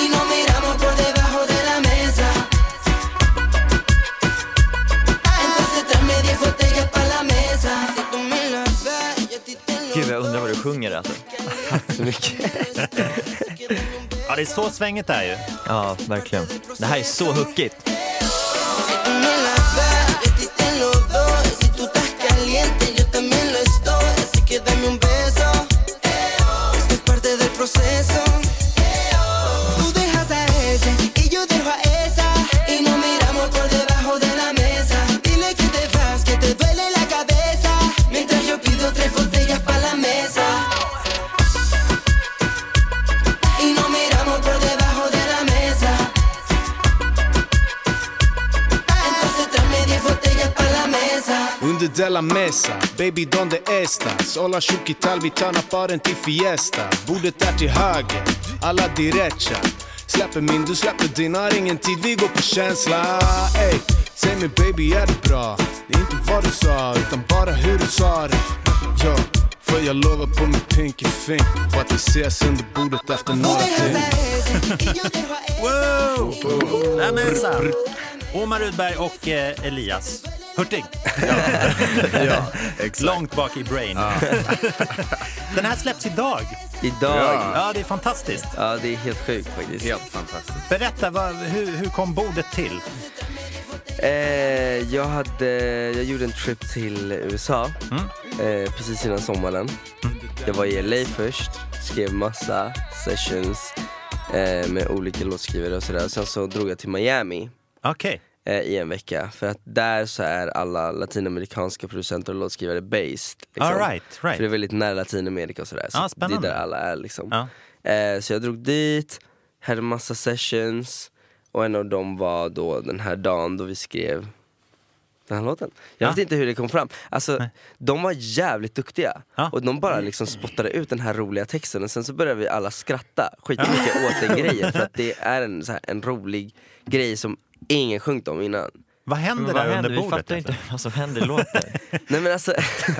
[SPEAKER 12] Y nos miramos por debajo de la mesa Entonces tráeme diez botellas para la mesa Si tú me la das, yo a ti te lo
[SPEAKER 3] Gud, jag undrar vad du sjunger alltså. Tack så mycket.
[SPEAKER 1] Ja, det är så svänget är ju.
[SPEAKER 3] Ja, verkligen. Det här är så hookigt.
[SPEAKER 12] me la das, yo a ti te lo doy. Si tú estás caliente, yo también lo estoy. Así que dame un beso. Esto es parte del proceso. Tú dejas a ese y yo dejo a esa. Y nos miramos por debajo de la mesa. Dile que te vas, que te duele la cabeza. Mientras yo pido tres botellas para la mesa. Y nos miramos por debajo de la mesa. Entonces tráeme diez botellas para la mesa.
[SPEAKER 13] Under de la mesa, baby donde estas? Hola shuki talvitana paren till fiesta Bordet är till höger, alla derecha Släpper min, du släpper din, har ingen tid, vi går på känsla Ey, säg mig baby är det bra? Det är inte vad du sa, utan bara hur du sa det Ja, för jag lovar på min pinky fink på att vi ses under bordet efter några timmar
[SPEAKER 1] Wow! La Mesa. Omar Rudberg och eh, Elias Hurtig.
[SPEAKER 2] Ja, exakt.
[SPEAKER 1] Långt bak i brain. Den här släpps idag.
[SPEAKER 4] Idag.
[SPEAKER 1] Ja, det är fantastiskt.
[SPEAKER 4] Ja, det är helt sjukt faktiskt.
[SPEAKER 2] Helt fantastiskt.
[SPEAKER 1] Berätta, vad, hur, hur kom bordet till?
[SPEAKER 4] Eh, jag, hade, jag gjorde en trip till USA
[SPEAKER 1] Mm.
[SPEAKER 4] eh, precis innan sommaren. Jag var i LA först, skrev massa sessions eh, med olika låtskrivare och sådär. Sen så drog jag till Miami
[SPEAKER 1] Okej.
[SPEAKER 4] eh, i en vecka. För att där så är alla latinamerikanska producenter och låtskrivare based. liksom.
[SPEAKER 1] All Ah, right, right.
[SPEAKER 4] För det är väldigt nära Latinamerika och sådär. Så
[SPEAKER 1] Ah,
[SPEAKER 4] det är
[SPEAKER 1] spännande.
[SPEAKER 4] där alla är liksom. Eh, så jag drog dit, hade massa sessions och en av dem var då den här dagen då vi skrev den här låten. Jag vet inte hur det kom fram. Alltså, de var jävligt duktiga. Och de bara liksom spottade ut den här roliga texten och sen så började vi alla skratta skitmycket åt den grejen. För att det är en, så här, en rolig grej som ingen sjungit om innan.
[SPEAKER 1] Vad händer
[SPEAKER 4] Men vad
[SPEAKER 1] där under
[SPEAKER 4] händer? Vi
[SPEAKER 1] bordet? alltså?
[SPEAKER 4] fattar inte
[SPEAKER 1] vad som händer i låten.
[SPEAKER 4] Nej men alltså,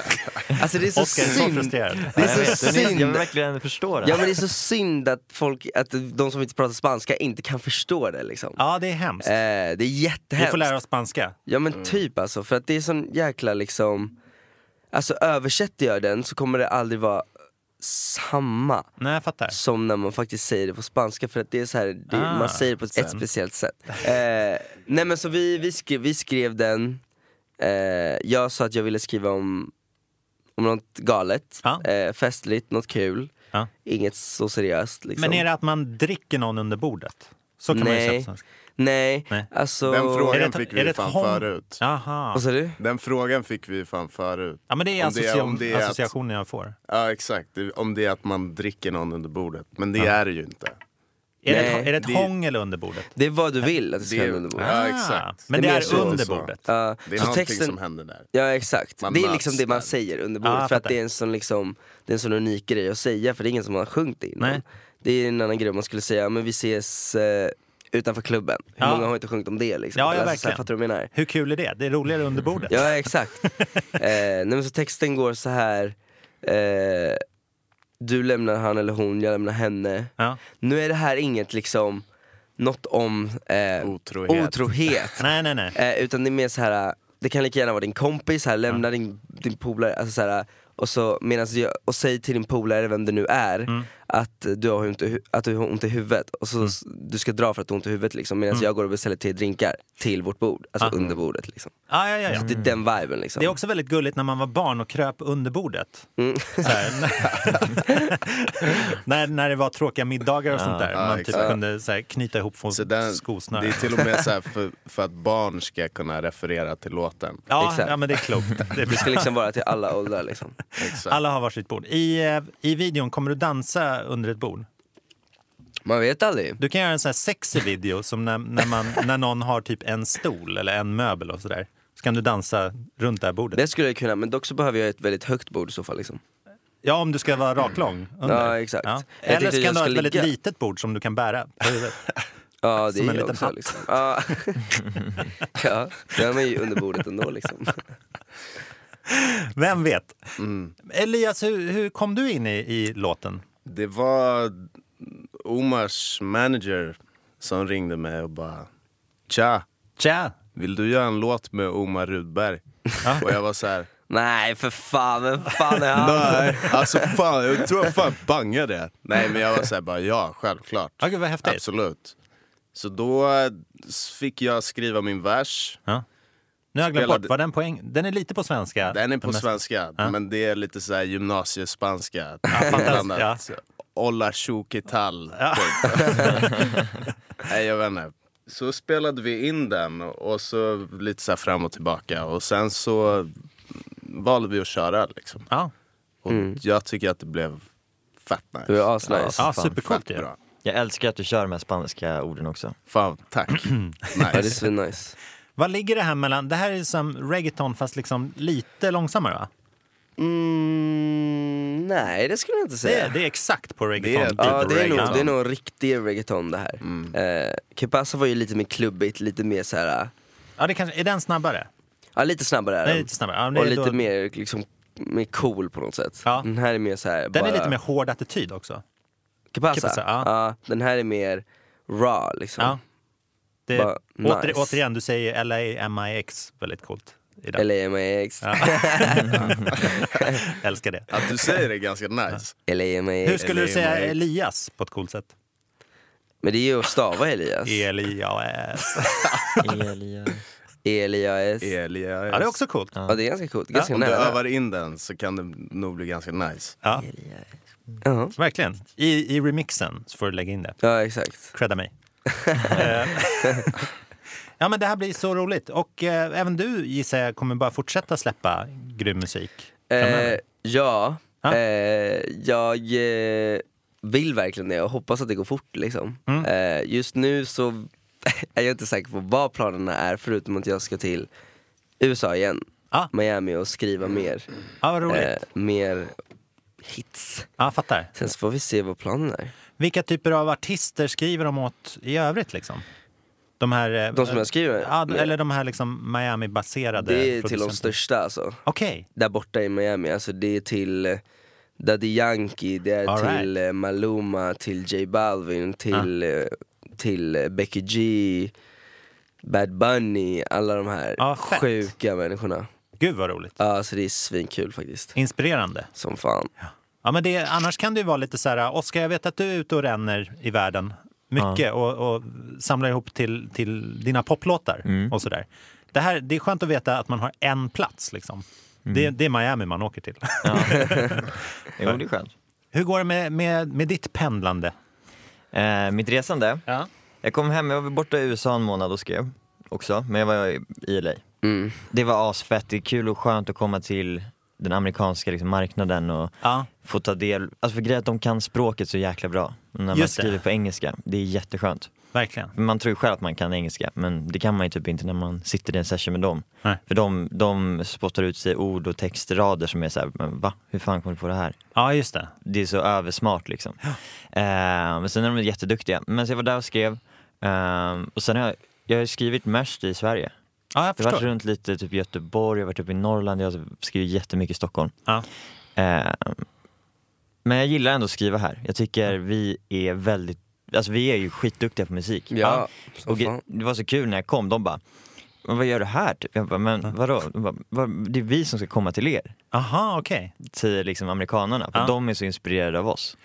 [SPEAKER 4] alltså det är så
[SPEAKER 1] Oscar är så
[SPEAKER 4] synd.
[SPEAKER 1] frustrerad.
[SPEAKER 4] Det
[SPEAKER 1] Ja,
[SPEAKER 4] är
[SPEAKER 1] jag
[SPEAKER 4] så
[SPEAKER 1] vet. Den är-
[SPEAKER 4] synd.
[SPEAKER 1] jag vill verkligen förstå den.
[SPEAKER 4] Ja men det är så synd att folk, att de som inte pratar spanska inte kan förstå det liksom.
[SPEAKER 1] Ja det är hemskt.
[SPEAKER 4] Eh, det är jättehemskt.
[SPEAKER 1] Vi får lära oss spanska.
[SPEAKER 4] Ja men typ alltså, för att det är sån jäkla liksom Alltså översätter jag den så kommer det aldrig vara samma
[SPEAKER 1] Nej, jag fattar.
[SPEAKER 4] som när man faktiskt säger det på spanska för att det är så här, det,
[SPEAKER 1] Ah,
[SPEAKER 4] man säger det på ett
[SPEAKER 1] sen.
[SPEAKER 4] speciellt sätt. Eh, nej men så vi, vi, skrev, vi skrev den, eh, jag sa att jag ville skriva om, om något galet,
[SPEAKER 1] Ah.
[SPEAKER 4] eh, festligt, något kul, inget så seriöst liksom.
[SPEAKER 1] Men är det att man dricker någon under bordet? Så kan man ju
[SPEAKER 4] Nej.
[SPEAKER 1] köpa svenska.
[SPEAKER 4] Nej, alltså...
[SPEAKER 2] Den frågan
[SPEAKER 1] Är det ett-
[SPEAKER 2] fick
[SPEAKER 1] är det
[SPEAKER 2] vi
[SPEAKER 1] ett
[SPEAKER 2] fan
[SPEAKER 1] hom-
[SPEAKER 2] förut.
[SPEAKER 1] Jaha.
[SPEAKER 4] Vad sa du?
[SPEAKER 2] Den frågan fick vi fan förut.
[SPEAKER 1] Ja men det är,
[SPEAKER 2] Om
[SPEAKER 1] association,
[SPEAKER 2] om det att-
[SPEAKER 1] associationen jag får.
[SPEAKER 2] Ja exakt, Det- om det är att man dricker någon under bordet. Men det
[SPEAKER 1] Ja.
[SPEAKER 2] är det ju inte.
[SPEAKER 1] Är det, ett- är det ett hångel under bordet? Ah.
[SPEAKER 4] Det är vad du vill att det ska
[SPEAKER 2] Det-
[SPEAKER 4] hända under bordet.
[SPEAKER 2] ja, exakt.
[SPEAKER 1] Men det
[SPEAKER 4] mer
[SPEAKER 1] är
[SPEAKER 4] så.
[SPEAKER 1] under bordet.
[SPEAKER 4] Ja,
[SPEAKER 2] Det är
[SPEAKER 4] så
[SPEAKER 2] någonting som händer där.
[SPEAKER 4] Ja exakt,
[SPEAKER 2] Man
[SPEAKER 4] det är
[SPEAKER 2] möts
[SPEAKER 4] liksom det man
[SPEAKER 2] där.
[SPEAKER 4] säger under
[SPEAKER 2] Ja,
[SPEAKER 4] bordet
[SPEAKER 2] jag
[SPEAKER 4] för att
[SPEAKER 2] fattar.
[SPEAKER 4] det är en sån liksom Det är en sån unik grej att säga för det är ingen som har sjungit det innan Det är en annan grej om man skulle säga, men vi ses eh, utanför klubben Hur
[SPEAKER 1] Ja.
[SPEAKER 4] många har inte sjungit om det liksom?
[SPEAKER 1] Ja, ja,
[SPEAKER 4] Eller alltså,
[SPEAKER 1] verkligen.
[SPEAKER 4] så här, fattar du vad jag menar?
[SPEAKER 1] Hur kul är det? Det är roligare under bordet.
[SPEAKER 4] Ja exakt. eh, nej, men så texten går så här eh, Du lämnar han eller hon, jag lämnar henne. Nu är det här inget liksom något om eh,
[SPEAKER 1] Otrohet.
[SPEAKER 4] nej, nej, nej. Eh, utan det är mer så här det kan lika gärna vara din kompis, här, lämna din, din polare, alltså så här, och, så, medans jag, och säg till din polare, vem det nu är,
[SPEAKER 1] Mm.
[SPEAKER 4] att, du har ont i, hu- att du har ont i huvudet och så, du ska dra för att du har ont i huvudet liksom, medan
[SPEAKER 1] Mm.
[SPEAKER 4] jag går och beställer te och drinkar till vårt bord, alltså under bordet liksom.
[SPEAKER 1] Ah, ja, ja, ja.
[SPEAKER 4] Så det är den viben liksom.
[SPEAKER 1] Det är också väldigt gulligt när man var barn och kröp under bordet.
[SPEAKER 4] Mm.
[SPEAKER 1] Så här, när, när det var tråkiga middagar och sånt där.
[SPEAKER 2] Ja,
[SPEAKER 1] Man typ
[SPEAKER 2] exakt.
[SPEAKER 1] kunde så här, knyta ihop fo- skosnören.
[SPEAKER 2] Det är till och med så här för, för att barn ska kunna referera till låten.
[SPEAKER 1] Ja, Exakt. ja, men det är klokt. Det är bra.
[SPEAKER 4] vara till alla åldrar liksom.
[SPEAKER 2] Exakt.
[SPEAKER 1] Alla har varsitt bord. I, eh, I videon, kommer du dansa under ett bord?
[SPEAKER 4] Man vet aldrig.
[SPEAKER 1] Du kan göra en sån här sexy video som när, när, man, när någon har typ en stol eller en möbel och sådär. Så kan du dansa runt det här bordet.
[SPEAKER 4] Det skulle jag kunna, men dock så behöver jag ett väldigt högt bord i så fall liksom.
[SPEAKER 1] Ja, om du ska vara raklång. under.
[SPEAKER 4] Ja, exakt. Jag
[SPEAKER 1] Eller
[SPEAKER 4] tänkte
[SPEAKER 1] så kan
[SPEAKER 4] jag
[SPEAKER 1] du ha ett
[SPEAKER 4] ska
[SPEAKER 1] väldigt
[SPEAKER 4] ligga.
[SPEAKER 1] litet bord som du kan bära på huvudet.
[SPEAKER 4] Ja, det
[SPEAKER 1] Som
[SPEAKER 4] är
[SPEAKER 1] en
[SPEAKER 4] jag
[SPEAKER 1] liten
[SPEAKER 4] också,
[SPEAKER 1] hatt.
[SPEAKER 4] Liksom. Ja. ja, den är ju under bordet ändå liksom.
[SPEAKER 1] Vem vet? Elias, hur, hur kom du in i, i låten?
[SPEAKER 2] Det var Omars manager som ringde mig och bara Tja!
[SPEAKER 1] Tja!
[SPEAKER 2] Vill du göra en låt med Omar Rudberg? och jag var så här.
[SPEAKER 4] Nej för fan, vem fan är han?
[SPEAKER 2] Nej, alltså fan, jag tror jag fan bangade. Nej men jag var såhär bara ja, självklart.
[SPEAKER 1] Ja, gud, vad häftigt.
[SPEAKER 2] Absolut. Så då eh, fick jag skriva min vers.
[SPEAKER 1] Nu har jag glömt
[SPEAKER 2] Spelade-
[SPEAKER 1] bort, var den på eng- Den är lite på svenska.
[SPEAKER 2] Den är på
[SPEAKER 1] mesta.
[SPEAKER 2] svenska,
[SPEAKER 1] Ja.
[SPEAKER 2] men det är lite så här gymnasiespanska.
[SPEAKER 1] fantastiskt,
[SPEAKER 2] Blandat.
[SPEAKER 1] ja.
[SPEAKER 2] Så, Olla tjokital. typ. Nej, jag vet inte. Så spelade vi in den och så lite så här fram och tillbaka och sen så valde vi att köra liksom. Och jag tycker att det blev fett nice.
[SPEAKER 4] Du är asnice.
[SPEAKER 1] Ja, supercoolt ju.
[SPEAKER 3] Jag älskar att du kör med spanska orden också.
[SPEAKER 2] Fan, tack. nice.
[SPEAKER 4] Ja, det är så nice.
[SPEAKER 1] Vad ligger det här mellan? Det här är som reggaeton fast liksom lite långsammare va?
[SPEAKER 4] Mm, nej, det skulle jag inte
[SPEAKER 1] Det
[SPEAKER 4] säga.
[SPEAKER 1] är, det är exakt på
[SPEAKER 4] Det är, Typ
[SPEAKER 1] reggaeton. Mm.
[SPEAKER 4] ja, det, är nog, det är nog riktig reggaeton det här. Eh, Kepasa var ju lite mer klubbigt, lite mer såhär,
[SPEAKER 1] Ja, det kanske, är den snabbare?
[SPEAKER 4] ja lite snabbare är
[SPEAKER 1] Nej,
[SPEAKER 4] den.
[SPEAKER 1] lite snabbare. Ja, men det
[SPEAKER 4] Och
[SPEAKER 1] är
[SPEAKER 4] lite
[SPEAKER 1] då-
[SPEAKER 4] mer liksom, mer cool på något sätt. Den här är mer såhär,
[SPEAKER 1] Den är lite mer hård attityd också.
[SPEAKER 4] Kepasa?
[SPEAKER 1] Kepasa, ja.
[SPEAKER 4] ja. den här är mer raw liksom.
[SPEAKER 1] Ja. Det,
[SPEAKER 4] Bara
[SPEAKER 1] åter,
[SPEAKER 4] nice.
[SPEAKER 1] Återigen, du säger LA MIX väldigt coolt. i den.
[SPEAKER 4] Eller MAX.
[SPEAKER 1] Ja. Älskar det.
[SPEAKER 2] Att du säger det är ganska nice.
[SPEAKER 4] Eller MAX.
[SPEAKER 1] Hur skulle du säga Elias på ett coolt sätt? E
[SPEAKER 4] Men det är ju att stava Elias.
[SPEAKER 1] Elias.
[SPEAKER 3] Elias.
[SPEAKER 4] E Elias.
[SPEAKER 1] E-
[SPEAKER 2] Elias.
[SPEAKER 1] Ja, det är också coolt.
[SPEAKER 4] Ja, det är ganska coolt. Ganska
[SPEAKER 2] Om du
[SPEAKER 4] nära.
[SPEAKER 2] övar in den så kan det nog bli ganska nice.
[SPEAKER 1] Ja. Verkligen. I, I remixen så får du lägga in det.
[SPEAKER 4] Ja, exakt.
[SPEAKER 1] Credda mig. Eh, ja, men det här blir så roligt. Och eh, även du gissar jag kommer bara fortsätta släppa grym musik.
[SPEAKER 4] Eh, ja, eh, jag eh, vill verkligen det och hoppas att det går fort liksom. Eh, just nu så är jag inte säker på vad planerna är förutom att jag ska till USA igen. Miami och skriva mer.
[SPEAKER 1] Ja, vad
[SPEAKER 4] Eh.
[SPEAKER 1] roligt.
[SPEAKER 4] mer hits.
[SPEAKER 1] Ja, fattar.
[SPEAKER 4] Sen så får vi se vad planen är.
[SPEAKER 1] Vilka typer av artister skriver de åt i övrigt? Liksom? De, här, eh,
[SPEAKER 4] De som jag skriver?
[SPEAKER 1] Ja, d-
[SPEAKER 4] med?
[SPEAKER 1] eller de här liksom Miami-baserade
[SPEAKER 4] Det är till de
[SPEAKER 1] producenterna.
[SPEAKER 4] största alltså.
[SPEAKER 1] Okej.
[SPEAKER 4] Där borta i Miami, alltså det är till eh, Daddy Yankee, det är
[SPEAKER 1] All right. Ah.
[SPEAKER 4] till eh, Maluma, till J Balvin, till, eh, till eh, Becky G, Bad Bunny, alla de här
[SPEAKER 1] Ah,
[SPEAKER 4] sjuka människorna.
[SPEAKER 1] Gud vad roligt.
[SPEAKER 4] Ja, alltså det är svinkul faktiskt.
[SPEAKER 1] Inspirerande.
[SPEAKER 4] Som fan.
[SPEAKER 1] Ja, men det, annars kan det ju vara lite så här, Oskar, jag vet att du är ute och ränner i världen mycket
[SPEAKER 3] Ja.
[SPEAKER 1] och, och samlar ihop till, till dina poplåtar
[SPEAKER 3] Mm.
[SPEAKER 1] och sådär. Det, här, det är skönt att veta att man har en plats. Liksom.
[SPEAKER 3] Mm.
[SPEAKER 1] Det, det är Miami man åker till.
[SPEAKER 3] Jo, det är skönt.
[SPEAKER 1] Hur går det med, med, med ditt pendlande?
[SPEAKER 3] Eh, mitt resande? Jag kom hem, jag var borta i USA en månad och skrev också, men jag var i- i LA.
[SPEAKER 1] Mm.
[SPEAKER 3] Det var asfett, det är kul och skönt att komma till den amerikanska liksom, marknaden och få ta del, alltså för grejen är att de kan språket så jäkla bra. När man
[SPEAKER 1] Just det.
[SPEAKER 3] skriver på engelska, det är jätteskönt.
[SPEAKER 1] Verkligen.
[SPEAKER 3] Man tror ju själv att man kan engelska, men det kan man ju typ inte när man sitter i en session med dem.
[SPEAKER 1] Nej.
[SPEAKER 3] För de, de spottar ut sig ord och textrader som är såhär, men va? Hur fan kom du på det här?
[SPEAKER 1] Ja, just det.
[SPEAKER 3] Det är så översmart liksom. Eh, men sen är de jätteduktiga. Men så jag var där och skrev. Eh, och sen har jag, jag har skrivit mest i Sverige.
[SPEAKER 1] Ja, jag
[SPEAKER 3] jag har varit
[SPEAKER 1] förstår.
[SPEAKER 3] runt lite typ i Göteborg, jag har varit uppe i Norrland, jag har skrivit jättemycket i Stockholm. Ehm,
[SPEAKER 1] Ja.
[SPEAKER 3] Eh, men jag gillar ändå att skriva här. Jag tycker vi är väldigt alltså vi är ju skitduktiga på musik.
[SPEAKER 4] Ja,
[SPEAKER 3] och ge- det var så kul när jag kom, de bara men vad gör du här? Typ. Jag bara, men vadå? De Bara, "Vad- det är vi som ska komma till er.
[SPEAKER 1] Aha, okej.
[SPEAKER 3] Säger liksom amerikanarna, för
[SPEAKER 1] Ja.
[SPEAKER 3] de är så inspirerade av oss.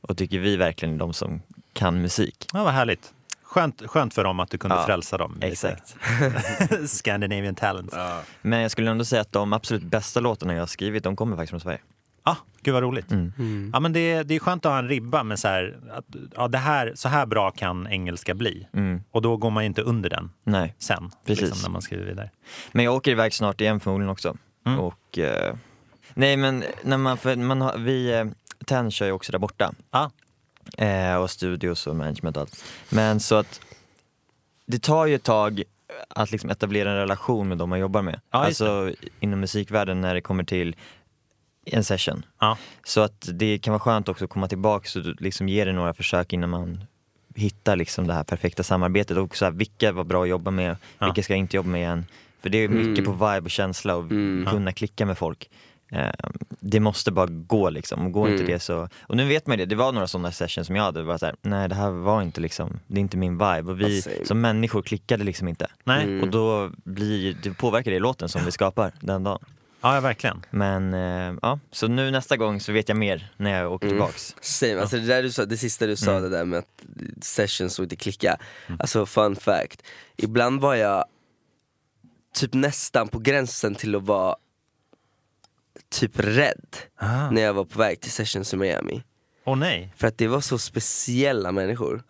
[SPEAKER 3] Och tycker vi verkligen är de som kan musik.
[SPEAKER 1] Ja, vad härligt. Skönt, skönt för dem att du kunde
[SPEAKER 3] Ja,
[SPEAKER 1] frälsa dem. Exakt. Scandinavian talents.
[SPEAKER 3] Men jag skulle ändå säga att de absolut bästa låtarna jag har skrivit, de kommer faktiskt från Sverige.
[SPEAKER 1] Ah, gud vad roligt.
[SPEAKER 3] Mm.
[SPEAKER 1] Ja, men det, är- det är skönt att ha en ribba med så här, att, ja, det här, så här bra kan engelska bli.
[SPEAKER 3] Mm.
[SPEAKER 1] Och då går man ju inte under den
[SPEAKER 3] Nej.
[SPEAKER 1] sen,
[SPEAKER 3] Precis.
[SPEAKER 1] liksom, när man skriver vidare.
[SPEAKER 3] Men jag åker iväg snart igen förmodligen också.
[SPEAKER 1] Mm.
[SPEAKER 3] Och, eh, nej men när man, för man har, vi, eh, TEN kör ju också där borta. Eh, och studios och management och allt. Men så att det tar ju ett tag att liksom etablera en relation med de man jobbar med.
[SPEAKER 1] Ja, just
[SPEAKER 3] alltså inom musikvärlden när det kommer till en session. Så att det kan vara skönt också att komma tillbaka och liksom ge det några försök innan man hittar liksom det här perfekta samarbetet. Och så här, vilka var bra att jobba med,
[SPEAKER 1] Ja.
[SPEAKER 3] vilka ska jag inte jobba med igen? För det är mycket på
[SPEAKER 1] Mm.
[SPEAKER 3] vibe och känsla och kunna klicka med folk. Eh, Det måste bara gå liksom, och går
[SPEAKER 4] Mm.
[SPEAKER 3] inte det så... Och nu vet man ju det, det var några sådana sessions som jag hade, bara så här, nej det här var inte liksom, det är inte min vibe. Och vi
[SPEAKER 4] Ja, same.
[SPEAKER 3] som människor klickade liksom inte.
[SPEAKER 4] Nej. Mm.
[SPEAKER 3] Och då blir, det påverkar det låten som vi skapar den dagen.
[SPEAKER 1] Ja, verkligen.
[SPEAKER 3] Men eh, ja, så nu nästa gång så vet jag mer när jag åker
[SPEAKER 4] Mm.
[SPEAKER 3] tillbaks.
[SPEAKER 4] Same. Alltså det, där du sa, det sista du sa,
[SPEAKER 3] Mm.
[SPEAKER 4] det där med att sessions och inte klicka. Alltså fun fact, ibland var jag typ nästan på gränsen till att vara typ rädd
[SPEAKER 1] Ah.
[SPEAKER 4] när jag var på väg till sessions i Miami.
[SPEAKER 1] Åh nej.
[SPEAKER 4] För att det var så speciella människor.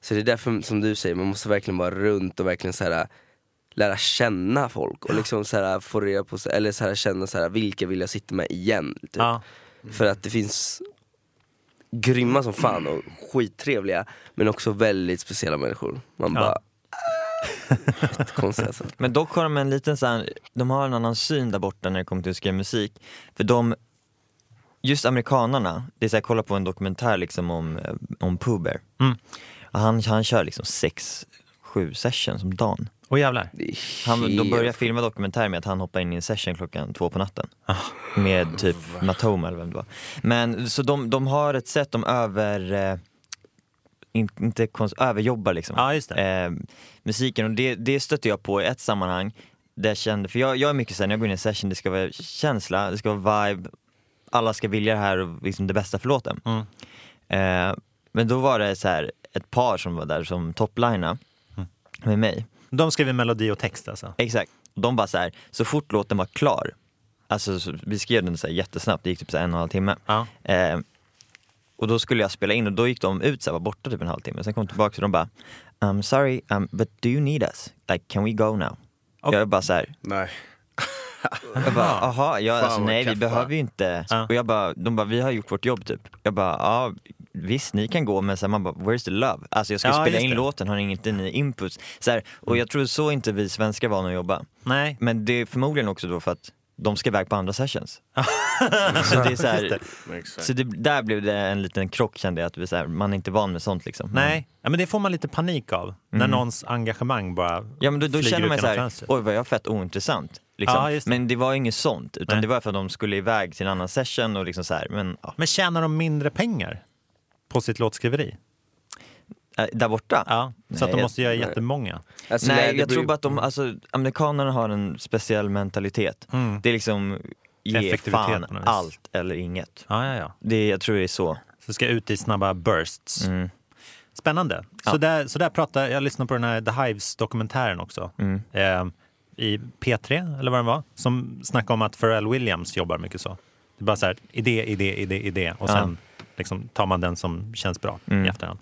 [SPEAKER 4] Så det är därför som du säger, man måste verkligen vara runt och verkligen så här lära känna folk och liksom så här få reda på, sig- eller så här känna så här, vilka vill jag sitta med igen? Typ. För att det finns grymma som fan och skittrevliga men också väldigt speciella människor. Man
[SPEAKER 3] Ja.
[SPEAKER 4] bara... Konstigt alltså.
[SPEAKER 3] Men dock har de en liten så här, de har en annan syn där borta när det kommer till att skriva musik. För de, just amerikanarna, det är så här, kolla på en dokumentär liksom om, eh, om Pooh Bear. Och Han, han kör liksom sex, sju sessions om dagen.
[SPEAKER 1] Åh jävlar.
[SPEAKER 3] Han, de
[SPEAKER 1] helt-
[SPEAKER 3] börjar filma dokumentären med att han hoppar in i en session klockan två på natten. Med typ Matoma eller vem det var. Men så de, de har ett sätt, de över... Eh, in, inte konst, överjobbar liksom. Eh, musiken och det, det stötte jag på i ett sammanhang. Där jag kände, för jag, jag är mycket såhär, när jag går in i en session, det ska vara känsla, det ska vara vibe. Alla ska vilja det här och liksom det bästa för låten. Eh, men då var det så här ett par som var där som toplina med mig.
[SPEAKER 1] De skrev melodi och text alltså?
[SPEAKER 3] Exakt. De bara så här, så fort låten var klar, alltså så, vi skrev den så här jättesnabbt, det gick typ så här en och en halv timme. Eh, och då skulle jag spela in och då gick de ut så här, var borta typ en halvtimme. Sen kom de tillbaka och de bara I'm sorry, um, but do you need us? Like can we go now? Jag bara så här,
[SPEAKER 2] Nej.
[SPEAKER 3] jag bara, aha, jag,
[SPEAKER 2] Fan,
[SPEAKER 3] alltså,
[SPEAKER 2] vad
[SPEAKER 3] nej vi
[SPEAKER 2] keffa.
[SPEAKER 3] behöver ju inte. Och jag bara, de bara, vi har gjort vårt jobb typ. Jag bara, ja visst ni kan gå men sen man bara, where's the love? Alltså jag ska
[SPEAKER 1] Ja,
[SPEAKER 3] spela
[SPEAKER 1] just
[SPEAKER 3] in
[SPEAKER 1] det.
[SPEAKER 3] låten, har ni inte ni inputs? Så här, och jag tror så inte vi svenskar var vana att jobba.
[SPEAKER 1] Nej.
[SPEAKER 3] Men det är förmodligen också då för att de ska iväg på andra sessions. så det är så
[SPEAKER 1] Just
[SPEAKER 3] här,
[SPEAKER 1] det.
[SPEAKER 3] så det, där blev det en liten krock kände jag, att vi, så här, man är inte van med sånt liksom.
[SPEAKER 1] Nej, ja, men det får man lite panik av. När
[SPEAKER 3] Mm.
[SPEAKER 1] någons engagemang bara
[SPEAKER 3] Ja men då, då
[SPEAKER 1] flyger
[SPEAKER 3] känner
[SPEAKER 1] ut
[SPEAKER 3] man
[SPEAKER 1] genom
[SPEAKER 3] såhär,
[SPEAKER 1] fönstret.
[SPEAKER 3] oj vad jag är fett ointressant. Liksom.
[SPEAKER 1] Ja, just det.
[SPEAKER 3] Men det var inget sånt, utan
[SPEAKER 1] Nej.
[SPEAKER 3] det var för att de skulle iväg till en annan session och liksom så här, men ja.
[SPEAKER 1] Men tjänar de mindre pengar på sitt låtskriveri?
[SPEAKER 3] Äh, Där borta?
[SPEAKER 1] Ja, så att
[SPEAKER 3] Nej,
[SPEAKER 1] de måste göra Alltså,
[SPEAKER 3] jag-
[SPEAKER 1] jättemånga.
[SPEAKER 4] alltså,
[SPEAKER 3] nej, jag tror bara att de, alltså, amerikanerna har en speciell mentalitet.
[SPEAKER 1] Mm.
[SPEAKER 3] Det är liksom, ge
[SPEAKER 1] Effektivitet
[SPEAKER 3] fan
[SPEAKER 1] på något vis.
[SPEAKER 3] allt eller inget.
[SPEAKER 1] Ja, ja, ja.
[SPEAKER 3] Det, jag tror det är så.
[SPEAKER 1] Så ska ut i snabba bursts.
[SPEAKER 3] Mm.
[SPEAKER 1] Spännande. Så,
[SPEAKER 3] Ja.
[SPEAKER 1] där, så där pratar, jag lyssnade på den här The Hives-dokumentären också.
[SPEAKER 3] Mm.
[SPEAKER 1] Eh, I P3, eller vad den var, som snackade om att Pharrell Williams jobbar mycket så. Det är bara så här, idé, idé, idé, idé och
[SPEAKER 3] Ja.
[SPEAKER 1] sen liksom, tar man den som känns bra
[SPEAKER 3] Mm.
[SPEAKER 1] i efterhand.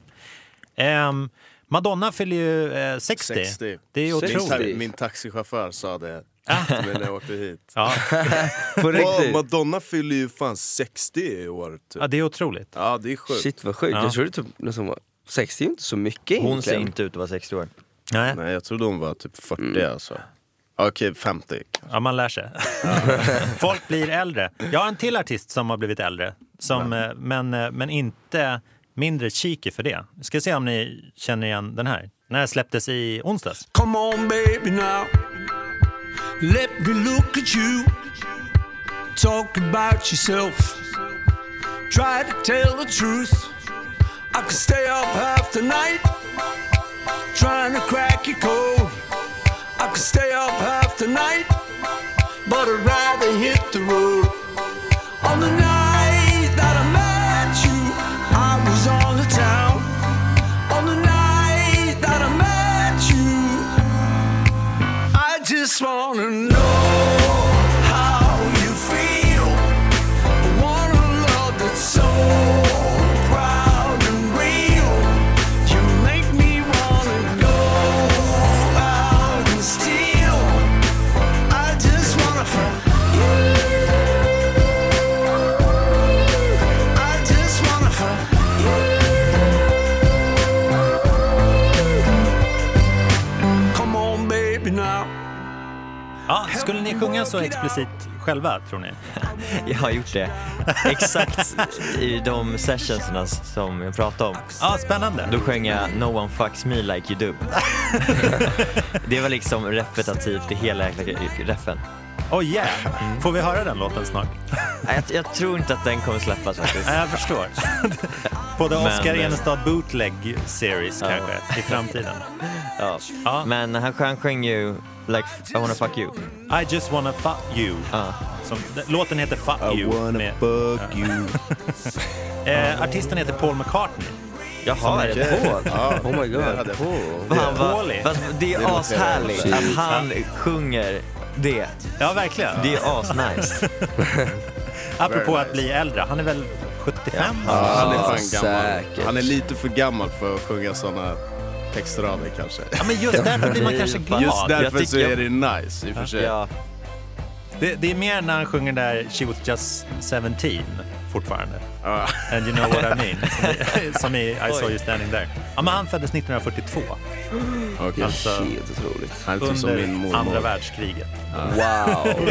[SPEAKER 1] Ehm, Madonna fyller ju eh, 60. Det är ju
[SPEAKER 2] Min,
[SPEAKER 1] otroligt. Ah.
[SPEAKER 2] ta- min taxichaufför sa det till mig när jag åkte hit.
[SPEAKER 1] Ja.
[SPEAKER 2] Wow,
[SPEAKER 1] riktigt.
[SPEAKER 2] Madonna fyller ju fan 60 i år. Typ.
[SPEAKER 1] Ja, det är otroligt.
[SPEAKER 2] Ja, det är sjukt.
[SPEAKER 4] Shit vad sjukt,
[SPEAKER 2] Ja.
[SPEAKER 4] jag trodde typ liksom, var- 60 är ju inte så mycket
[SPEAKER 2] Hon ser inte
[SPEAKER 3] ut att vara 60 år.
[SPEAKER 1] Nej.
[SPEAKER 2] Nej, jag trodde hon var typ 40
[SPEAKER 1] Mm.
[SPEAKER 2] alltså. Okej, 50
[SPEAKER 1] Ja, man lär sig. Folk blir äldre. Jag har en till artist som har blivit äldre, som, eh, men, eh, men inte mindre cheeky för det. Vi ska se om ni känner igen den här. Den här släpptes i onsdags.
[SPEAKER 14] Come on, baby, now. Let me look at you. Talk about yourself. Try to tell the truth. I could stay up half the night trying to crack your code. I could stay up half the night, but I'd rather hit the road. On the night that I met you, I was on the town. On the night that I met you, I just wanna know how you feel. I wanna love that's so proud and real. You make me wanna go out and steal. I just wanna find you. I just wanna find you. Come on, baby, now.
[SPEAKER 1] Ja, skulle ni sjunga så explicit själva, tror ni?
[SPEAKER 3] Jag har gjort det. Exakt i de sessionerna som jag pratade om.
[SPEAKER 1] Ja, spännande.
[SPEAKER 3] Då sjöng jag No one fucks me like you do. det var liksom repetitivt i hela jäkla reffen.
[SPEAKER 1] Oh
[SPEAKER 3] Mm.
[SPEAKER 1] yeah! Får vi höra den låten snart?
[SPEAKER 3] Nej, Jag, jag tror inte att den kommer släppas faktiskt.
[SPEAKER 1] Nej, jag förstår. Både
[SPEAKER 3] Men- eh,
[SPEAKER 1] Oscar Enestad Bootleg Series kanske, i framtiden.
[SPEAKER 3] Ja. Men han sjöng, sjöng ju Like I wanna fuck you.
[SPEAKER 1] I just wanna fuck you. Som, låten heter Fuck
[SPEAKER 3] I
[SPEAKER 1] you.
[SPEAKER 3] wanna
[SPEAKER 1] fuck you. eh, artisten heter Paul McCartney.
[SPEAKER 3] Jaha, är det Paul? Fan, vad-
[SPEAKER 1] Paulie.
[SPEAKER 3] fast det är ashärligt att han sjunger det.
[SPEAKER 1] Ja, verkligen.
[SPEAKER 3] Det är asnice.
[SPEAKER 1] Apropå att bli äldre, han är väl 75?
[SPEAKER 2] Ja, han är fan
[SPEAKER 1] Ja,
[SPEAKER 2] gammal. Han är lite för gammal för att sjunga sådana textrader kanske.
[SPEAKER 1] Ja, men just därför blir man kanske glad.
[SPEAKER 2] Just
[SPEAKER 1] Jag
[SPEAKER 2] därför
[SPEAKER 1] tycker-
[SPEAKER 2] så är det nice i och för sig.
[SPEAKER 1] Ja. Det, det är mer när han sjunger där She was just 17 fortfarande. And you know what I mean. Som i- Som i I saw you standing there. Ja, men han föddes 1942.
[SPEAKER 2] Okej.
[SPEAKER 1] Alltså,
[SPEAKER 2] Helt otroligt. Han är typ som min
[SPEAKER 1] under
[SPEAKER 2] mormor.
[SPEAKER 1] andra världskriget.
[SPEAKER 2] Ja. Wow.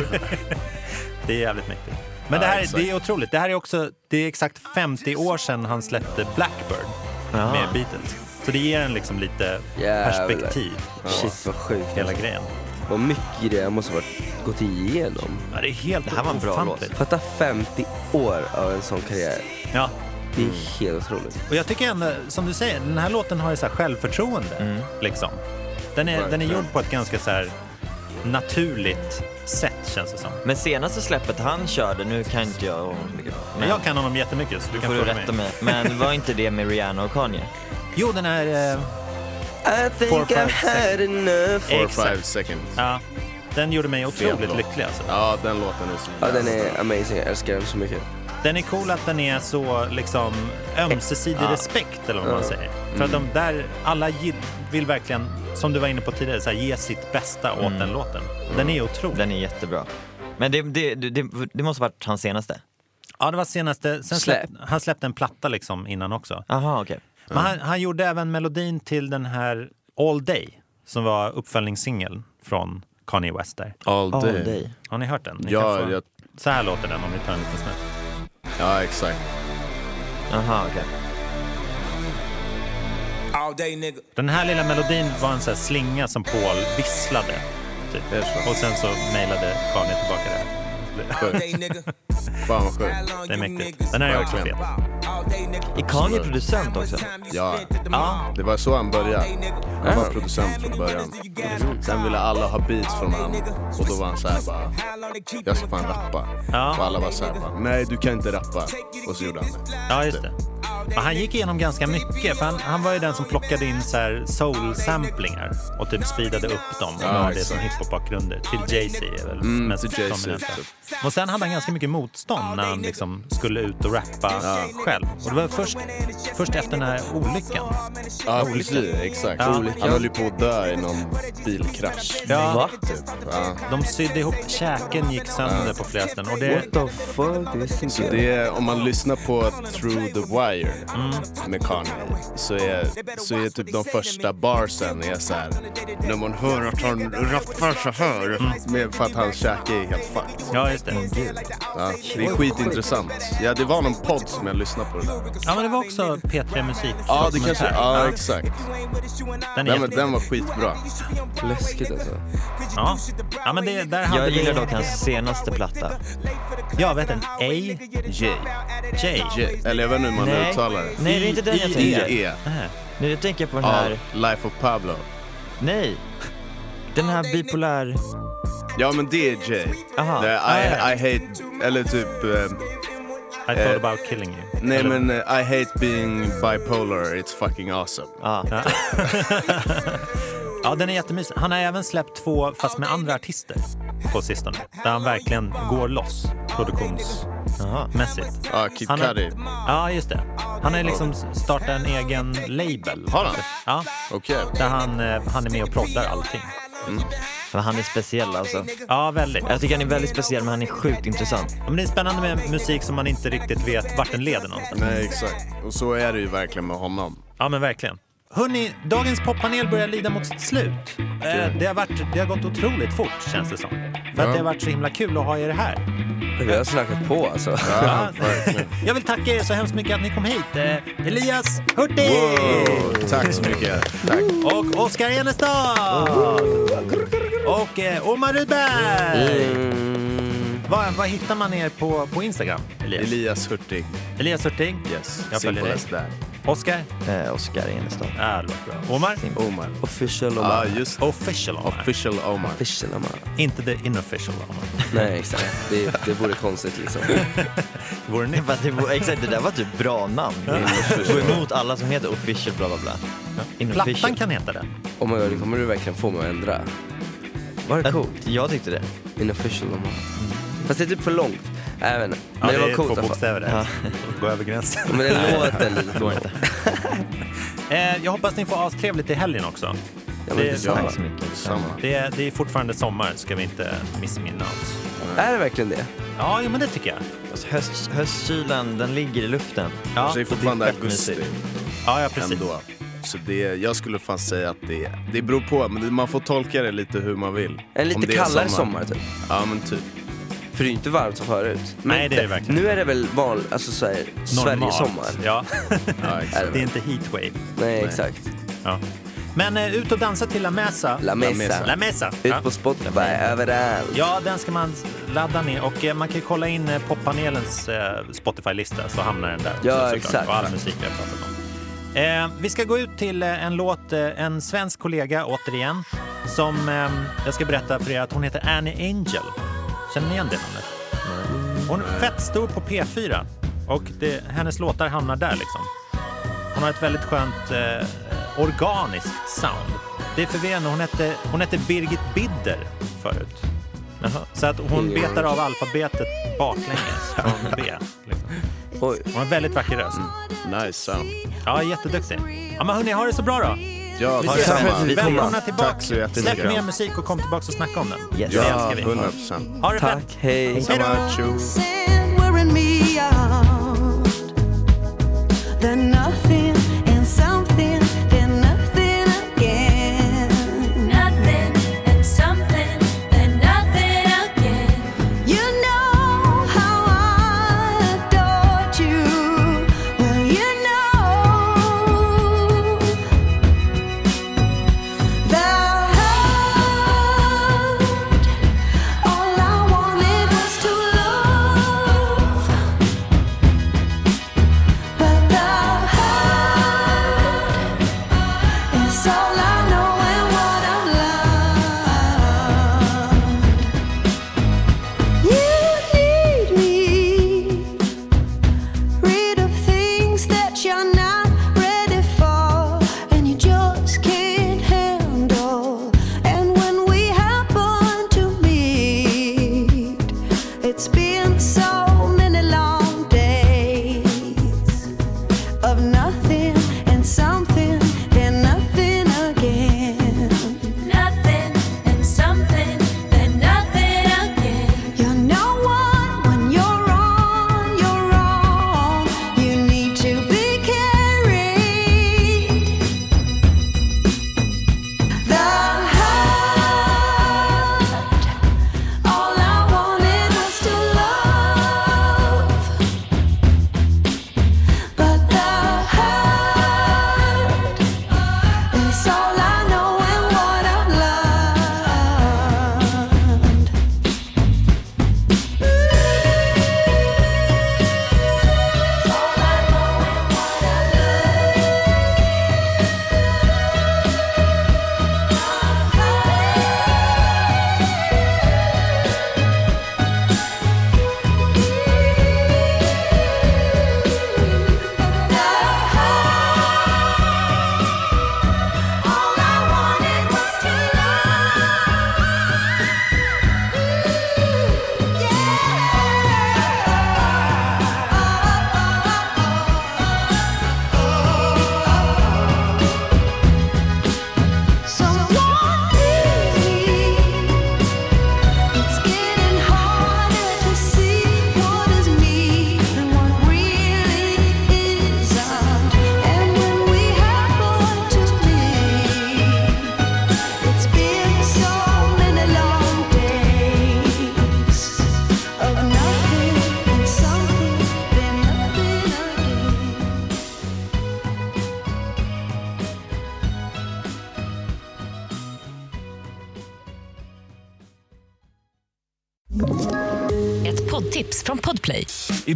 [SPEAKER 1] det är jävligt mäktigt. Men det
[SPEAKER 2] Ja,
[SPEAKER 1] här är-
[SPEAKER 2] exakt.
[SPEAKER 1] det är otroligt. Det här är också, det är exakt 50 år sedan han släppte Blackbird med Beatles. Så det ger en liksom lite
[SPEAKER 4] Jävlar.
[SPEAKER 1] perspektiv på
[SPEAKER 4] Shit vad sjukt.
[SPEAKER 1] hela grejen.
[SPEAKER 4] Vad mycket grejer han måste ha varit- gått igenom.
[SPEAKER 1] Ja, det är helt
[SPEAKER 4] Det här var en bra låt.
[SPEAKER 1] ofantligt.
[SPEAKER 4] Fatta 50 år av en sån karriär.
[SPEAKER 1] Ja.
[SPEAKER 4] Det är
[SPEAKER 1] Mm.
[SPEAKER 4] helt otroligt.
[SPEAKER 1] Och jag tycker ändå, som du säger, den här låten har ju så här självförtroende. Liksom. Den, är, den är gjord på ett ganska så här naturligt sätt, känns det som.
[SPEAKER 3] Men senaste släppet han körde, nu kan inte jag honom så mycket.
[SPEAKER 1] Men jag Mm, kan honom jättemycket, så du
[SPEAKER 3] Då
[SPEAKER 1] kan
[SPEAKER 3] får du
[SPEAKER 1] fråga
[SPEAKER 3] rätta mig. Men var inte det med Rihanna och Kanye?
[SPEAKER 1] Jo, den här... Eh,
[SPEAKER 4] I think
[SPEAKER 1] Four,
[SPEAKER 4] I've
[SPEAKER 1] five,
[SPEAKER 4] had
[SPEAKER 1] seconds.
[SPEAKER 4] enough.
[SPEAKER 2] Four,
[SPEAKER 1] Exakt.
[SPEAKER 2] five seconds.
[SPEAKER 1] Ja, den gjorde mig
[SPEAKER 2] Fet
[SPEAKER 1] otroligt
[SPEAKER 2] låt.
[SPEAKER 1] lycklig. Alltså.
[SPEAKER 2] Ja, den låten är så
[SPEAKER 4] Ja, den
[SPEAKER 2] jävla-
[SPEAKER 4] är amazing. Jag älskar den så mycket.
[SPEAKER 1] Den är cool att den är så liksom ömsesidig
[SPEAKER 4] Ja.
[SPEAKER 1] respekt eller vad
[SPEAKER 4] Ja.
[SPEAKER 1] man säger. För att de där, alla gi- vill verkligen, som du var inne på tidigare, så här, ge sitt bästa åt den låten. Den är otrolig.
[SPEAKER 3] Den är jättebra. Men det, det, det, det, det måste varit hans senaste.
[SPEAKER 1] Ja, det var senaste. Sen
[SPEAKER 3] Släpp.
[SPEAKER 1] släpp. Han släppte en platta liksom innan också.
[SPEAKER 3] Aha, okej.
[SPEAKER 1] Men han, han gjorde även melodin till den här All Day som var uppföljningssingeln från Kanye West där.
[SPEAKER 2] All All Day. Day.
[SPEAKER 1] Har ni hört den? Ni
[SPEAKER 2] Ja,
[SPEAKER 1] kan få-
[SPEAKER 2] jag-
[SPEAKER 1] Så här låter den om ni tar en liten snutt.
[SPEAKER 2] Ja, exakt.
[SPEAKER 3] Aha, okej.
[SPEAKER 15] All day nigga.
[SPEAKER 1] Den här lilla melodin var en sån här slinga som Paul visslade. Typ. Och sen så mejlade Kanye tillbaka det
[SPEAKER 15] All
[SPEAKER 1] här.
[SPEAKER 15] day nigga.
[SPEAKER 1] Fan vad sjukt. Det är mäktigt. Den här är också fet.
[SPEAKER 15] All day nigga.
[SPEAKER 3] Är Kanye producent också?
[SPEAKER 2] Ja. det var så han började. Han var producent från början. Sen ville alla ha beats från honom och då var han så här bara, jag ska fan rappa. Och alla var så här bara, nej du kan inte rappa. Och så gjorde han det.
[SPEAKER 1] Ja, just det. Och han gick igenom ganska mycket, för han, han var ju den som plockade in så här soul-samplingar och typ speedade upp dem och
[SPEAKER 2] Ja,
[SPEAKER 1] ja, det
[SPEAKER 2] exakt.
[SPEAKER 1] som hiphop-bakgrunder. Till Jay-Z är väl
[SPEAKER 2] Mm,
[SPEAKER 1] mest
[SPEAKER 2] till Jay-Z,
[SPEAKER 1] prominenta.
[SPEAKER 2] typ.
[SPEAKER 1] Och sen hade han ganska mycket motstånd när han liksom skulle ut och rappa själv. Och det var först, först efter den här olyckan.
[SPEAKER 2] Ja, precis. Exakt.
[SPEAKER 1] Ja.
[SPEAKER 2] Han höll ju på att dö i någon bilkrasch.
[SPEAKER 1] Ja. Va?
[SPEAKER 2] Typ. Ja.
[SPEAKER 1] De sydde ihop, käken gick sönder
[SPEAKER 2] Ja.
[SPEAKER 1] på flera ställen. Och det,
[SPEAKER 2] the fuck? Så det är, om man lyssnar på Through the Wire
[SPEAKER 3] Mm.
[SPEAKER 2] med Kanye så är, så är typ de första barsen är så här, när man hör att han rappar så här.
[SPEAKER 3] Mm.
[SPEAKER 2] Med, för att hans käke är helt fucked.
[SPEAKER 1] Mm. Ja, just det.
[SPEAKER 2] Ja, det är skitintressant. Ja, det var någon podd som jag lyssnade på det där.
[SPEAKER 1] ja, men det var också P3 Musik.
[SPEAKER 2] Ja, det kanske,
[SPEAKER 1] dokumentär.
[SPEAKER 2] ja exakt.
[SPEAKER 1] Den
[SPEAKER 2] Den,
[SPEAKER 1] är
[SPEAKER 2] var- den var skitbra.
[SPEAKER 4] Läskigt alltså.
[SPEAKER 1] Ja, ja men det, där hade
[SPEAKER 3] Jag
[SPEAKER 1] vi-
[SPEAKER 3] gillar dock hans senaste platta.
[SPEAKER 1] Ja, vet den? A. J. J.
[SPEAKER 2] Eller jag vet inte hur man
[SPEAKER 3] Nej.
[SPEAKER 2] uttalar det.
[SPEAKER 3] Nej, det är inte den jag
[SPEAKER 2] I-
[SPEAKER 3] tänker.
[SPEAKER 2] I- E.
[SPEAKER 3] Nej, jag tänker på den
[SPEAKER 2] Av
[SPEAKER 3] här...
[SPEAKER 2] Life of Pablo.
[SPEAKER 3] Nej. Den här bipolär...
[SPEAKER 2] Ja, men det är Jay.
[SPEAKER 3] Aha.
[SPEAKER 2] Det
[SPEAKER 3] Ah,
[SPEAKER 2] är I,
[SPEAKER 3] ja.
[SPEAKER 2] I hate, eller typ...
[SPEAKER 1] I
[SPEAKER 2] ehm, eh,
[SPEAKER 1] thought about killing you.
[SPEAKER 2] Nej,
[SPEAKER 1] Eller-
[SPEAKER 2] men eh, I hate being bipolar, it's fucking awesome.
[SPEAKER 1] Ja. ja, den är jättemysig. Han har även släppt två, fast med andra artister, på sistone. Där han verkligen går loss produktionsmässigt.
[SPEAKER 2] Ja, Ah, Kid
[SPEAKER 1] Han har-
[SPEAKER 2] Cudi.
[SPEAKER 1] Ja, just det. Han har ju liksom startat en egen label.
[SPEAKER 2] Har han?
[SPEAKER 1] Ja.
[SPEAKER 2] Okej.
[SPEAKER 1] Där han, eh, han är med och proddar allting.
[SPEAKER 3] Men han är speciell alltså.
[SPEAKER 1] Ja, väldigt.
[SPEAKER 3] Jag tycker han är väldigt speciell, men han är sjukt intressant.
[SPEAKER 1] Ja, men det är spännande med musik som man inte riktigt vet vart den leder någonstans.
[SPEAKER 2] Nej, exakt. Och så är det ju verkligen med honom.
[SPEAKER 1] Ja, men verkligen. Hörni, dagens poppanel börjar lida mot sitt slut. Eh, det, har varit, det har gått otroligt fort, känns det som. För
[SPEAKER 4] Ja.
[SPEAKER 1] att det har varit så himla kul att ha er här.
[SPEAKER 4] Vi har snackat på alltså.
[SPEAKER 1] Ja, Jag vill tacka er så hemskt mycket att ni kom hit. Eh, Elias Hurtig! Eh.
[SPEAKER 2] Wow, tack så mycket. Tack.
[SPEAKER 1] Och Oskar Enestad! Och eh, Omar Rudberg! Vad vad hittar man er på, på Instagram, Elias?
[SPEAKER 2] Elias Hurtig.
[SPEAKER 1] Elias Hurtig?
[SPEAKER 2] Yes,
[SPEAKER 1] Jag följer
[SPEAKER 2] simple
[SPEAKER 1] dig.
[SPEAKER 2] as that.
[SPEAKER 1] Oskar?
[SPEAKER 3] Eh, Oscar Enestad.
[SPEAKER 1] Ja, det låter bra. Omar?
[SPEAKER 2] Omar.
[SPEAKER 4] Official
[SPEAKER 2] Ja,
[SPEAKER 4] Omar.
[SPEAKER 2] just
[SPEAKER 1] Official Omar.
[SPEAKER 2] Official Omar.
[SPEAKER 4] Official Omar.
[SPEAKER 1] Inte the inofficial Omar.
[SPEAKER 4] Nej, exakt. Det, det vore konstigt liksom.
[SPEAKER 1] Vore
[SPEAKER 3] det Fast det vore, exakt, det där var typ bra namn. Gå emot alla som heter official bla bla bla.
[SPEAKER 1] Plattan kan heta det.
[SPEAKER 4] Oh my god, det kommer du verkligen få mig att ändra. Var det coolt?
[SPEAKER 3] Jag tyckte det.
[SPEAKER 4] Inofficial Omar. Fast det är typ för långt. Nej, jag vet inte.
[SPEAKER 1] Mm. Ja,
[SPEAKER 4] Men det
[SPEAKER 1] det är
[SPEAKER 4] var coolt.
[SPEAKER 1] två
[SPEAKER 4] i alla fall.
[SPEAKER 1] bokstäver där. Gå över gränsen.
[SPEAKER 4] Men den
[SPEAKER 1] Nej.
[SPEAKER 4] låten lite
[SPEAKER 1] Går inte. Eh, jag hoppas ni får astrevligt i helgen också.
[SPEAKER 4] men detsamma. Tack så mycket. Detsamma.
[SPEAKER 1] Det, är- det är fortfarande sommar, ska vi inte missminna oss.
[SPEAKER 4] Är det verkligen det?
[SPEAKER 1] Ja, jo, men det tycker jag.
[SPEAKER 3] Alltså, höst, höstkylan, den ligger i luften.
[SPEAKER 1] Ja.
[SPEAKER 3] Och
[SPEAKER 2] det är fortfarande
[SPEAKER 3] fett
[SPEAKER 2] augusti.
[SPEAKER 3] mysigt.
[SPEAKER 1] Ja, ja, precis.
[SPEAKER 2] Ändå. Så det, är- jag skulle fan säga att det, är- det beror på, men det- man får tolka det lite hur man vill.
[SPEAKER 4] En lite
[SPEAKER 2] Om det är
[SPEAKER 4] kallare sommar, typ.
[SPEAKER 2] Ja, men typ.
[SPEAKER 4] För det är ju inte varmt som förut. Men
[SPEAKER 1] Nej, det är det verkligen.
[SPEAKER 4] Nu är det väl van, alltså så här, Sveriges sommar.
[SPEAKER 1] Ja.
[SPEAKER 4] exakt.
[SPEAKER 1] det är inte heatwave.
[SPEAKER 4] Nej, exakt.
[SPEAKER 1] Ja. Men eh, ut och dansa till La Mesa.
[SPEAKER 4] La Mesa.
[SPEAKER 1] La Mesa. Ja.
[SPEAKER 4] Ut på Spotify, överallt.
[SPEAKER 1] Ja, den ska man ladda ner och eh, man kan ju kolla in eh, poppanelens eh, Spotify-lista så hamnar den där. också,
[SPEAKER 4] Ja,
[SPEAKER 1] såklart.
[SPEAKER 4] exakt.
[SPEAKER 1] Och all musik vi har pratat om. Eh, vi ska gå ut till eh, en låt, eh, en svensk kollega återigen, som eh, jag ska berätta för er att hon heter Annie Angel. Känner ni igen det namnet? Hon är fett stor på P4 och det, hennes låtar hamnar där liksom. Hon har ett väldigt skönt eh, organiskt sound. Det är förvirrande, hon hette, hon hette Birgit Bidder förut. Så att hon
[SPEAKER 4] Ja.
[SPEAKER 1] betar av alfabetet baklänges från B. Liksom. Hon har en väldigt vacker röst.
[SPEAKER 2] Nice sound.
[SPEAKER 1] Ja, jätteduktig. Ja, men hörni, ha det så bra då.
[SPEAKER 2] Ja,
[SPEAKER 1] Vi
[SPEAKER 2] tack
[SPEAKER 1] ses.
[SPEAKER 2] detsamma. Vi får
[SPEAKER 1] Välkomna
[SPEAKER 2] bra.
[SPEAKER 1] tillbaka.
[SPEAKER 2] Tack så jättemycket.
[SPEAKER 1] Släpp mer musik och kom tillbaka och snacka om den.
[SPEAKER 2] Yes.
[SPEAKER 1] Det
[SPEAKER 2] Ja,
[SPEAKER 1] älskar vi.
[SPEAKER 2] 100%.
[SPEAKER 1] Ha det
[SPEAKER 2] Tack,
[SPEAKER 1] fett.
[SPEAKER 2] hej.
[SPEAKER 1] Hej då.
[SPEAKER 2] Samma, tjo.
[SPEAKER 16] and wearing me out. They're nothing and something, they're nothing again. Nothing and something, they're nothing again. You know how I adored you. Well, you know that I hurt all I wanted was to love
[SPEAKER 17] Ett poddtips från Podplay.
[SPEAKER 1] I